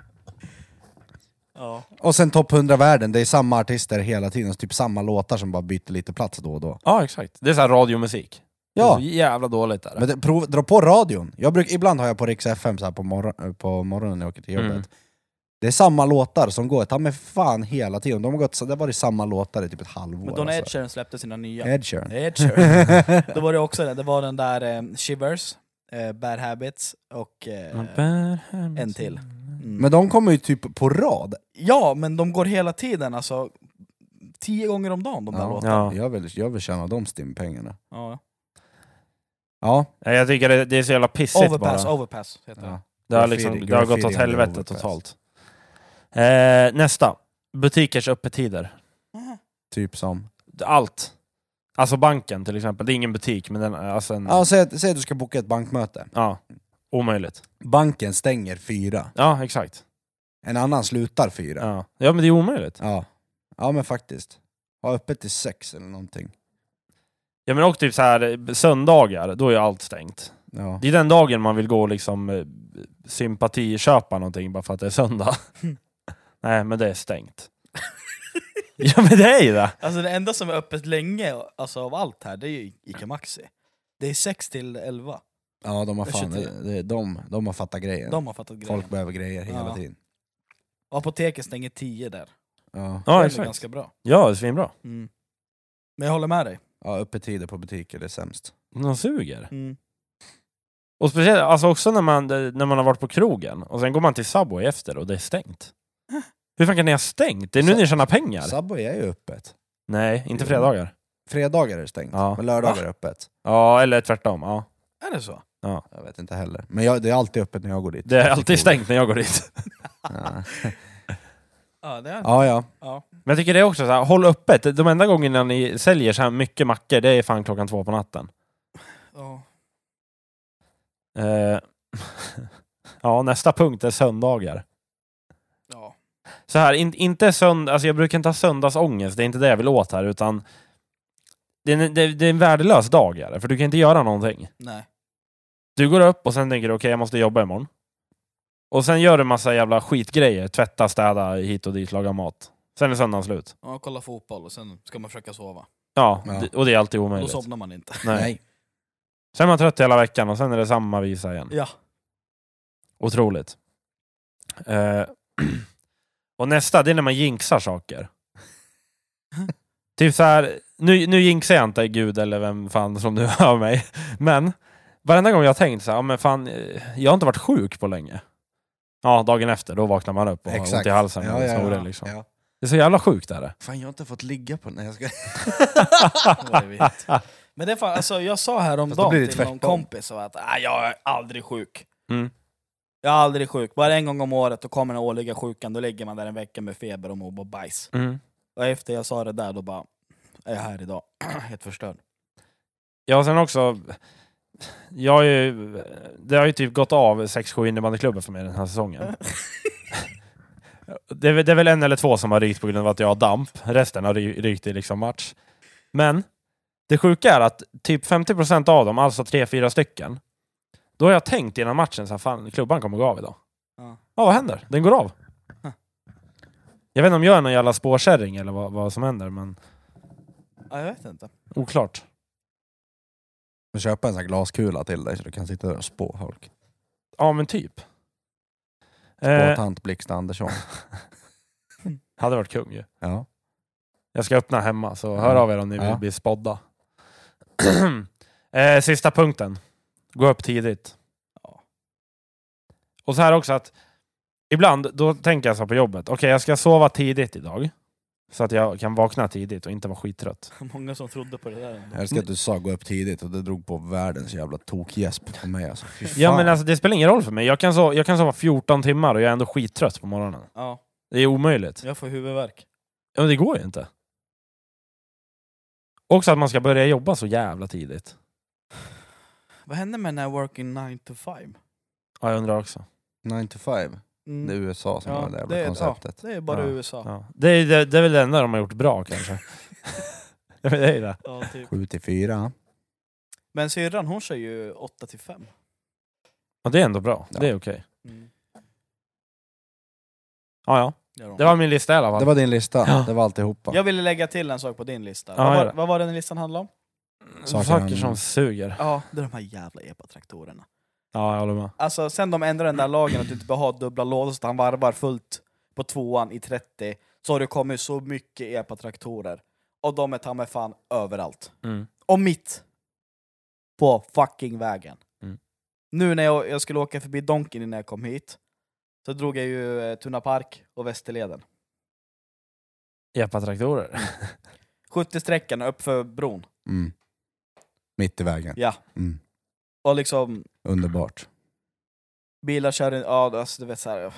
C: Ja.
A: Och sen topp 100 världen, det är samma artister hela tiden, så typ samma låtar som bara byter lite plats då och då.
B: Ja, exakt. Det är så här radiomusik. Ja.
A: Ja.
B: Det är så jävla dåligt är det.
A: Men det, prov, dra på radion. Jag bruk, ibland har jag på Rix FM så här på, morgon, eh, på morgonen när jag åker till jobbet.
B: Mm.
A: Det är samma låtar som går, ta mig fan hela tiden. De har gått, så det har varit samma låtar i typ ett halvår.
C: Men då när Ed
A: alltså.
C: Sheeran släppte sina nya...
A: Ed Sheeran.
C: Ed Sheeran. då var det också det, det var den där eh, Shivers, eh, Bad Habits och... Eh, en till. mm.
A: Men de kommer ju typ på rad.
C: Ja, men de går hela tiden alltså. Tio gånger om dagen de där låtarna.
B: Ja.
A: Jag, vill, jag vill tjäna de stimpengarna.
C: Ja.
A: Ja.
B: Nej, jag tycker det, det är så jävla pissigt
C: Overpass,
B: bara.
C: overpass heter det.
A: ja.
B: Det har,
A: Graffiti-
B: liksom, det har gått
A: graffiti
B: åt
A: under
B: helvete
A: overpass.
B: totalt. Eh, nästa. Butikers öppettider.
A: Typ som...
B: Allt. Alltså banken till exempel. Det är ingen butik, men den, alltså en,
A: Ja, säg, att- säg att du ska boka ett bankmöte.
B: ja, omöjligt.
A: Banken stänger fyra.
B: Ja, exakt.
A: En annan slutar fyra. Ja.
B: Ja. ja, men det är omöjligt.
A: Ja, men faktiskt. Ha öppet till sex eller någonting.
B: Ja, men och typ så här söndagar, då är allt stängt.
A: Ja.
B: Det är den dagen man vill gå och liksom eh, sympatiköpa någonting bara för att det är söndag.
C: Mm.
B: Nej, men det är stängt. ja, men det är ju det!
C: Alltså det enda som är öppet länge alltså, av allt här, det är ju Ica Maxi. Det är 6 till 11.
A: Ja, de har, fan,
C: Jag
A: det, det, de, de har fattat grejen.
C: De har fattat grejen.
A: Folk behöver grejer hela
C: Ja.
A: tiden.
C: Och apoteket stänger 10 där.
A: Ja.
C: det
B: Ja,
C: är väl
B: exakt.
C: ganska bra.
B: Ja, det är svinbra.
C: Mm. Men jag håller med dig.
A: Ja, öppettider på butiker det är sämst.
B: De suger.
C: Mm.
B: Och speciellt alltså också när man, när man har varit på krogen och sen går man till Subway efter och det är stängt. Hur fan kan ni ha stängt? Det är nu
A: Sub-
B: ni tjänar pengar.
A: Subway är ju öppet.
B: Nej, inte
A: Jo.
B: fredagar.
A: Fredagar är det stängt,
B: Ja. Ah.
A: men lördagar är öppet.
B: Ja, eller tvärtom. Ja.
C: Är det så?
A: Jag vet inte heller. Men jag, det är alltid öppet när jag går dit.
B: Det är
A: Till
B: alltid stängt när jag går dit.
A: Ja.
C: Ja, det är det.
A: ja, ja.
B: Men jag tycker det är också så här, håll öppet. De enda gångerna ni säljer så här mycket mackor, det är fan klockan två på natten.
C: Ja.
B: Eh, ja, nästa punkt är söndagar.
C: Ja.
B: Så här, in, inte sönd, alltså jag brukar inte ha söndagsångest, det är inte det jag vill åt här, utan det är, en- det, det är en värdelös dag, är det, för du kan inte göra någonting.
C: Nej.
B: Du går upp och sen tänker du okej, jag måste jobba imorgon. Och sen gör du massa jävla skitgrejer, tvätta, städa, hit och dit, laga mat. Sen är söndagen slut.
C: Ja, kolla fotboll och sen ska man försöka sova.
B: Ja,
A: Ja.
B: det- och det är alltid
C: Då
B: omöjligt.
C: somnar man inte.
B: Nej.
A: Nej.
B: Sen är man trött hela veckan och sen är det samma visa igen.
C: Ja.
B: Otroligt. Eh, och nästa, det är när man jinxar saker. typ så här, nu, nu jinxar jag inte Gud eller vem fan som nu hör mig, men varenda gång jag har tänkt så här, ja, men fan, eh, jag har inte varit sjuk på länge. Ja, dagen efter, då vaknar man upp och har ont i halsen. och
A: Ja, ja,
B: snorig,
A: ja.
B: Liksom.
A: Ja.
B: Det är så jävla sjukt är det.
A: Fan, jag har inte fått ligga på... Nej, jag ska...
C: Vad är det? Men det är fan, alltså, jag sa
A: Fast då blir
C: häromdagen
A: det
C: till
A: tvärtom.
C: någon kompis och att "Ah, jag är aldrig sjuk.
B: Mm.
C: Jag är aldrig sjuk. Bara en gång om året då kommer den årliga sjukan, då ligger man där en vecka med feber och mår bara bajs.
B: Mm.
C: Och efter jag sa det där, då bara är jag här idag. Helt förstörd.
B: Ja, och sen också, jag har ju, det har ju typ gått av 6-7 innebandyklubbar för mig den här säsongen. det, är, väl- det är väl en eller två som har rykt på grund av att jag har damp, resten har ry- rykt i liksom match. Men det sjuka är att typ 50% av dem, alltså 3-4 stycken, då har jag tänkt innan matchen så här, fan klubban kommer gå av idag.
C: Ja.
B: Ja, vad händer? Den går av.
C: Huh.
B: Jag vet inte om jag är någon jävla spårkärring eller vad, vad som händer, men
C: Ja, jag vet inte.
B: oklart.
A: Men Köpa en sån här glaskula till dig så du kan sitta där och spå folk.
B: Ja, men typ.
A: Spå
B: Eh,
A: tant Blixten Andersson.
B: hade varit kung ju.
A: Ja.
B: Jag ska öppna hemma, så
A: Ja.
B: hör av er om ni vill
A: Ja.
B: bli spådda. eh, sista punkten. Gå upp tidigt.
C: Ja.
B: Och så här också att ibland, då tänker jag så här på jobbet. Okej, jag ska sova tidigt idag. Så att jag kan vakna tidigt och inte vara skittrött.
C: Många som trodde på det där ändå.
A: Jag älskar att du sa gå upp tidigt och det drog på världens jävla tokgäsp på mig alltså. Fy
B: Ja
A: fan.
B: men alltså det spelar ingen roll för mig. Jag kan, sova, jag kan sova 14 timmar och jag är ändå skittrött på morgonen.
C: Ja,
B: Det är omöjligt.
C: jag får huvudvärk.
B: Ja, men det går ju inte. Också att man ska börja jobba så jävla tidigt.
C: Vad hände med den här working 9 to 5?
B: Ja, jag undrar också.
A: 9 to 5.
C: Mm.
A: Det är USA som
C: Ja,
A: har det jävla
C: det är-
A: konceptet.
C: Det är bara
B: Ja.
C: USA.
B: Ja. Det, är, det, det är väl det enda de har gjort bra kanske. Ja, men det är ju det.
C: Ja, typ.
A: 7 till 4.
C: Men syrran hon kör ju 8 till 5.
B: Ja, det är ändå bra.
A: Ja.
B: Det är okej.
C: Mm.
B: Ja, ja.
C: Gör hon.
B: Det var min lista i alla fall.
A: Det var din lista,
B: Ja.
A: det var alltihopa.
C: Jag ville lägga till en sak på din lista.
B: Ja,
C: vad,
B: gör
C: var,
B: det.
C: vad var det den listan handlade om?
A: Saker
B: Saker,
A: han-
B: som suger.
C: Ja, det är de här jävla epatraktorerna.
B: Ja, jag håller med.
C: Alltså sen de ändrade den där lagen att du inte behöver ha dubbla lådor så att han varvar fullt på tvåan i 30 så har det kommit så mycket epatraktorer. Och de är ta mig fan överallt.
B: Mm.
C: Och mitt på fucking vägen.
B: Mm.
C: Nu när jag, jag skulle åka förbi Donken innan jag kom hit så drog jag ju eh, Tuna Park och Västerleden.
B: Epatraktorer.
C: 70-sträckan uppför bron.
A: Mm. Mitt i vägen.
C: Ja.
A: Mm.
C: Och liksom
A: Underbart.
C: bilar kör in... Ja, alltså du vet så här.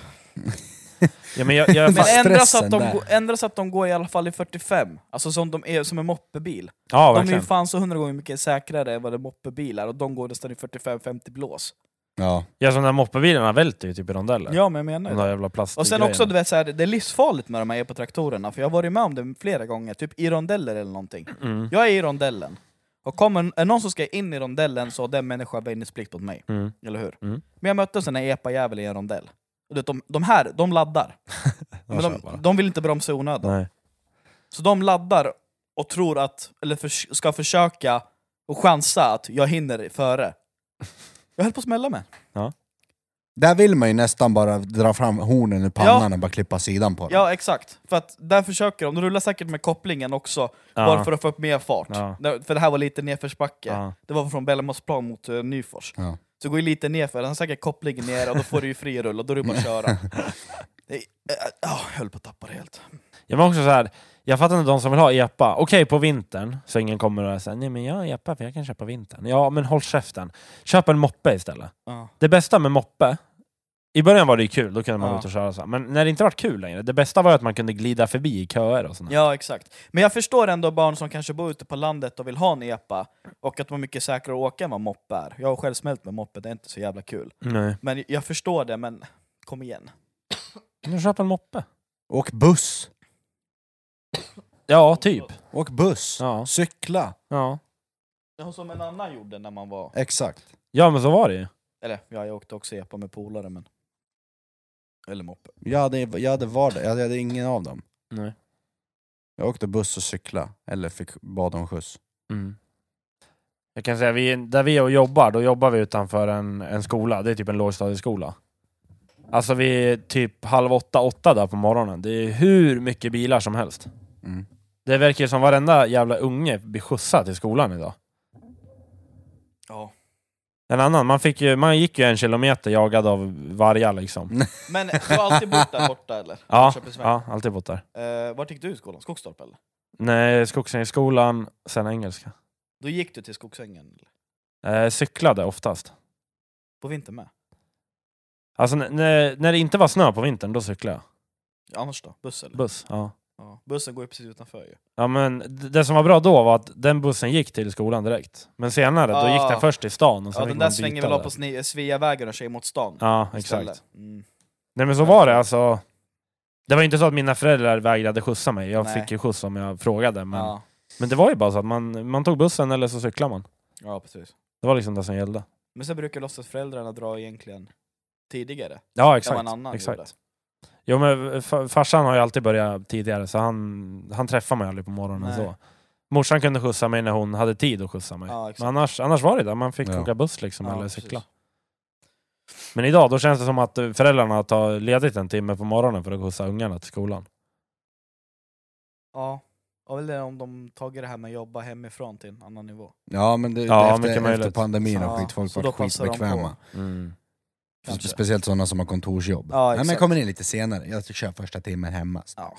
B: Ja, men jag, jag,
C: Men
A: Fast
C: ändra så, att de,
A: stressen där.
C: går- ändra så att de går i alla fall i 45, alltså som, de är, som en moppebil.
B: ja,
C: de är ju
B: verkligen.
C: fan så hundra gånger mycket säkrare än vad en moppebil är, och de går nästan i 45-50 blås.
A: Ja.
B: Ja, som de där moppebilarna välter ju typ i rondeller.
C: Ja, men jag menar
B: De
C: det.
B: där jävla plastgrejerna.
C: Och sen också, du vet, så här, det är livsfarligt med de här epatraktorerna, för jag har varit med om det flera gånger, typ i rondeller eller någonting.
B: Mm.
C: Jag är i rondellen, och kommer är någon som ska in i rondellen så har den människan väjningsplikt åt mig.
B: Mm.
C: Eller hur?
B: Mm.
C: Men jag mötte en sån här epa-jävel i en rondell. Och du vet, de, de här, de laddar. Men
B: kör
C: de,
B: bara.
C: de vill inte bromsa i onödan.
B: Nej.
C: Så de laddar och tror att, eller förs- ska försöka och chansa att jag hinner före. Jag höll på att smälla med.
A: Där vill man ju nästan bara dra fram hornen ur pannan och bara klippa sidan på den.
C: Ja, exakt. För att där försöker de, de rullar säkert med kopplingen också,
B: Ja.
C: bara för att få upp mer fart.
B: Ja.
C: Nej, För det här var lite nedförsbacke.
B: Ja.
C: Det var från Bellamosplan mot uh, Nyfors.
A: Ja.
C: Så går ju lite nerför, han har säkert kopplingen ner och då får du ju fri rull och då är det bara att köra. Nej, eh, ah, jag höll på att tappa det helt.
B: Jag var också så här, jag fattar inte de som vill ha epa. Okej, på vintern, så ingen kommer och säger nej men jag har epa för jag kan köpa vintern. Ja, men håll käften. Köp en moppe istället.
C: Ja.
B: Det bästa med moppe, i början var det ju kul, då kunde man
C: Ja.
B: vara ute och köra så här. Men när det inte var kul längre, det bästa var ju att man kunde glida förbi i köer och sånt.
C: Ja, exakt. Men jag förstår ändå barn som kanske bor ute på landet och vill ha en epa, och att de är mycket säkrare att åka än vad moppe är. Jag har själv smält med moppe, det är inte så jävla kul.
B: Nej.
C: Men jag förstår det, men kom igen.
B: Men Köp en moppe.
A: Åk buss!
B: Ja, typ.
A: Åk buss!
B: Ja.
A: Cykla!
B: Ja.
C: Ja, Som en annan gjorde när man var...
A: Exakt.
B: ja, men så var det ju.
C: Eller ja, jag åkte också epa med polare, men... Eller moppe.
A: Jag hade, jag hade vardag, jag hade ingen av dem.
B: Nej.
A: Jag åkte buss och cykla, eller fick bad om skjuts.
B: Mm. Jag kan säga, vi, där vi och jobbar, då jobbar vi utanför en, en skola. Det är typ en lågstadieskola. Alltså vi är typ halv åtta, åtta där på morgonen. Det är hur mycket bilar som helst.
A: Mm.
B: Det verkar ju som varenda jävla unge blir skjutsad till skolan idag.
C: Ja.
B: En annan, man, fick ju, man gick ju en kilometer jagad av vargar
C: Mm.
B: liksom.
C: Men du har alltid bott där borta, eller?
B: Ja,
C: Köpingsväg.
B: ja alltid bott där.
C: Eh, vart gick du i skolan? Skogstorp, eller?
B: Nej, skogsskolan, sen engelska.
C: Då gick du till Skogsängen? eller?
B: Eh, cyklade oftast.
C: På vintern med?
B: Alltså n- när, när det inte var snö på vintern, då cyklade jag.
C: Annars då? Buss, eller?
B: Buss. Ja.
C: ja. Bussen går ju precis utanför ju.
B: Ja, men d- det som var bra då var att den bussen gick till skolan direkt. Men senare, då
C: Ah.
B: gick den först till stan och sen
C: Ja,
B: fick
C: den
B: man
C: där
B: byta
C: svänger väl av på Sne- Sveavägen och sig mot stan?
B: Ja,
C: istället.
B: exakt.
C: Mm.
B: Nej men så var det alltså. Det var ju inte så att mina föräldrar vägrade skjutsa mig. Jag
C: Nej.
B: fick ju skjuts om jag frågade. Men,
C: Ja.
B: men det var ju bara så att man, man tog bussen eller så cyklade man.
C: ja, precis.
B: Det var liksom det som gällde.
C: Men sen brukar låtsasföräldrarna dra egentligen tidigare,
B: Ja
C: än vad
B: exakt.
C: en annan
B: exakt.
C: gjorde.
B: Jo men fa- farsan har ju alltid börjat tidigare så han, han träffar mig aldrig på morgonen
C: Nej.
B: så. Morsan kunde skjutsa mig när hon hade tid att skjutsa mig.
C: Ja,
B: Men
C: exakt.
B: annars, annars var det där, man fick
A: Ja.
B: åka buss liksom
C: Ja,
B: eller
C: precis.
B: cykla. Men idag, då känns det som att eh, föräldrarna tar ledigt en timme på morgonen för att skjutsa ungarna till skolan.
C: Ja. Och väl det om de tagit det här med att jobba hemifrån till en annan nivå.
A: Ja men det,
B: Ja, mycket
A: efter, efter
B: möjligt.
A: pandemin har
C: Ja,
A: skit, folk
C: så
A: varit
C: då passar de
A: skitbekväma. Mm.
C: Kanske.
A: Spe- Speciellt sådana som har kontorsjobb.
C: Ja,
A: Nej, men jag
C: exakt.
A: kommer in lite senare, jag kör första timmen hemma.
C: Ja.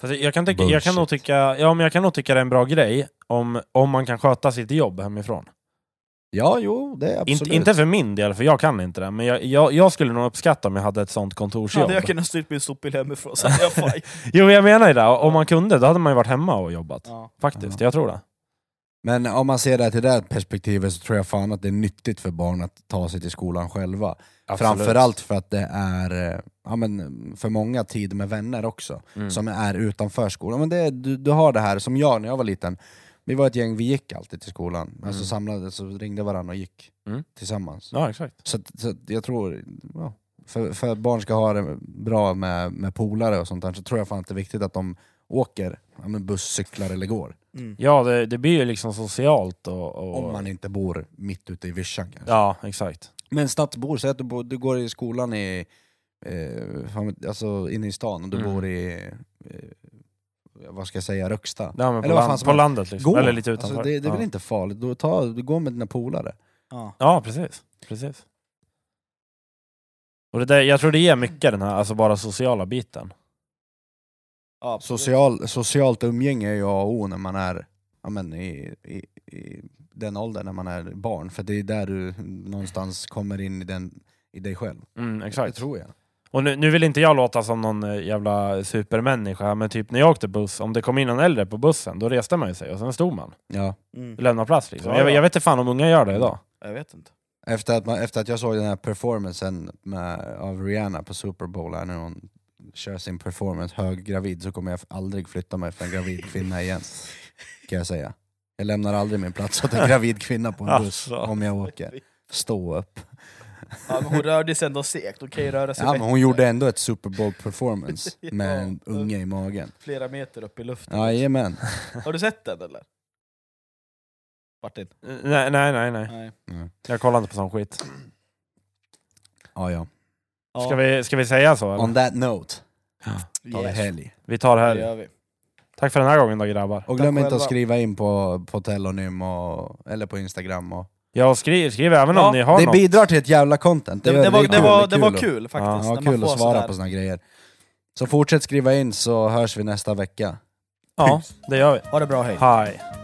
B: Fast jag, kan tycka, jag, kan
A: Bullshit.
B: nog tycka, ja, men jag kan nog tycka det är en bra grej om, om man kan sköta sitt jobb hemifrån.
A: Ja jo, det är absolut.
B: Inte- inte för min del, för jag kan inte det, men jag, jag, jag skulle nog uppskatta om jag hade ett sånt kontorsjobb.
C: Hade jag kunnat styrt min sopbil hemifrån så hade jag faj.
B: Jo, jag menar ju det. Om man kunde, då hade man ju varit hemma och jobbat.
C: Ja.
B: Faktiskt, jag tror det.
A: Men om man ser det här till det här perspektivet så tror jag fan att det är nyttigt för barn att ta sig till skolan själva. Framförallt för att det är eh, ja, men, för många tid med vänner också,
B: Mm.
A: som är utanför skolan. Men det, är- du, du har det här, som jag när jag var liten, vi var ett gäng, vi gick alltid till skolan. Alltså
B: Mm.
A: samlades och ringde varandra och gick
B: Mm.
A: tillsammans.
B: Ja, exakt.
A: Så, att- så att jag tror, ja, för, för att barn ska ha det bra med, med polare och sånt där, så tror jag fan att det är viktigt att de åker ja, men buss, cyklar eller går.
C: Mm.
B: Ja, det, det blir ju liksom socialt och... och
A: Om man inte bor mitt ute i vischan kanske.
B: Ja, exakt.
A: Men stadsbor, säg att du, bor, du går i skolan i, eh, fan vet- alltså inne i stan och du
B: Mm.
A: bor i, eh, vad ska jag säga, Röksta.
B: Ja, men på,
A: Eller vad fan
B: land,
A: som
B: på
A: helst.
B: landet liksom.
A: Gå!
B: Eller lite utanför.
A: alltså, det, det är
B: ja.
A: väl inte farligt, du, ta, du går med dina polare.
C: Ja.
B: ja, precis. precis. Och det där, jag tror det ger mycket den här, alltså bara sociala biten.
C: Ja, absolut.
A: Social, socialt umgänge är ju A och O när man är ja, men, i, i, i den åldern när man är barn, för det är där du någonstans kommer in i, den, i dig själv.
B: Mm, exakt.
A: Det tror jag.
B: Och nu, nu vill inte jag låta som någon eh, jävla supermänniska, men typ när jag åkte buss, om det kom in någon äldre på bussen, då reste man ju sig och sen stod man.
A: Ja.
C: Mm.
B: Lämna plats liksom.
C: Ja,
B: Jag,
C: ja.
B: jag vet inte fan om unga gör det idag.
C: Jag vet inte.
A: Efter, att man, efter att jag såg den här performancen med, av Rihanna på Super Bowl, här, när hon kör sin performance höggravid, så kommer jag aldrig flytta mig för en gravid kvinna igen. Kan jag säga. Jag lämnar aldrig min plats åt en gravid kvinna på en buss,
B: Alltså.
A: om jag åker. Stå upp.
C: Ja, men hon rörde sig ändå segt, hon kan ju röra sig
A: Ja, men
C: bättre.
A: hon gjorde ändå ett Super Bowl-performance
C: Ja.
A: med en unge i magen.
C: flera meter upp i luften.
A: Jajamän.
C: Har du sett den eller? Martin?
B: Eh, Nej, nej, nej. nej.
C: Nej.
B: Jag kollar inte på sån skit.
A: Ja, ja.
C: Ja,
B: Ska, vi, ska vi säga så? Eller?
A: On that note, ta det
C: yes.
A: helg.
B: Vi tar
C: det
B: här.
C: gör vi.
B: Tack för den här gången då grabbar.
A: Och glöm
C: Tack
A: inte att
C: själva.
A: skriva in på, på Telonym och, eller på Instagram. Och.
B: Jag skriver, skriv även
C: Ja,
B: om ni har
A: Det
B: något.
A: bidrar till ett jävla content.
C: Det,
A: gör-
C: det, var,
A: är
C: det, var,
A: är
C: det var
A: att-
C: kul faktiskt.
A: Ja,
C: när man
A: kul
C: får
A: att svara
C: sådär.
A: på såna grejer. Så fortsätt skriva in så hörs vi nästa vecka.
B: Ja, det gör vi.
C: Ha det bra, hej.
B: Hej.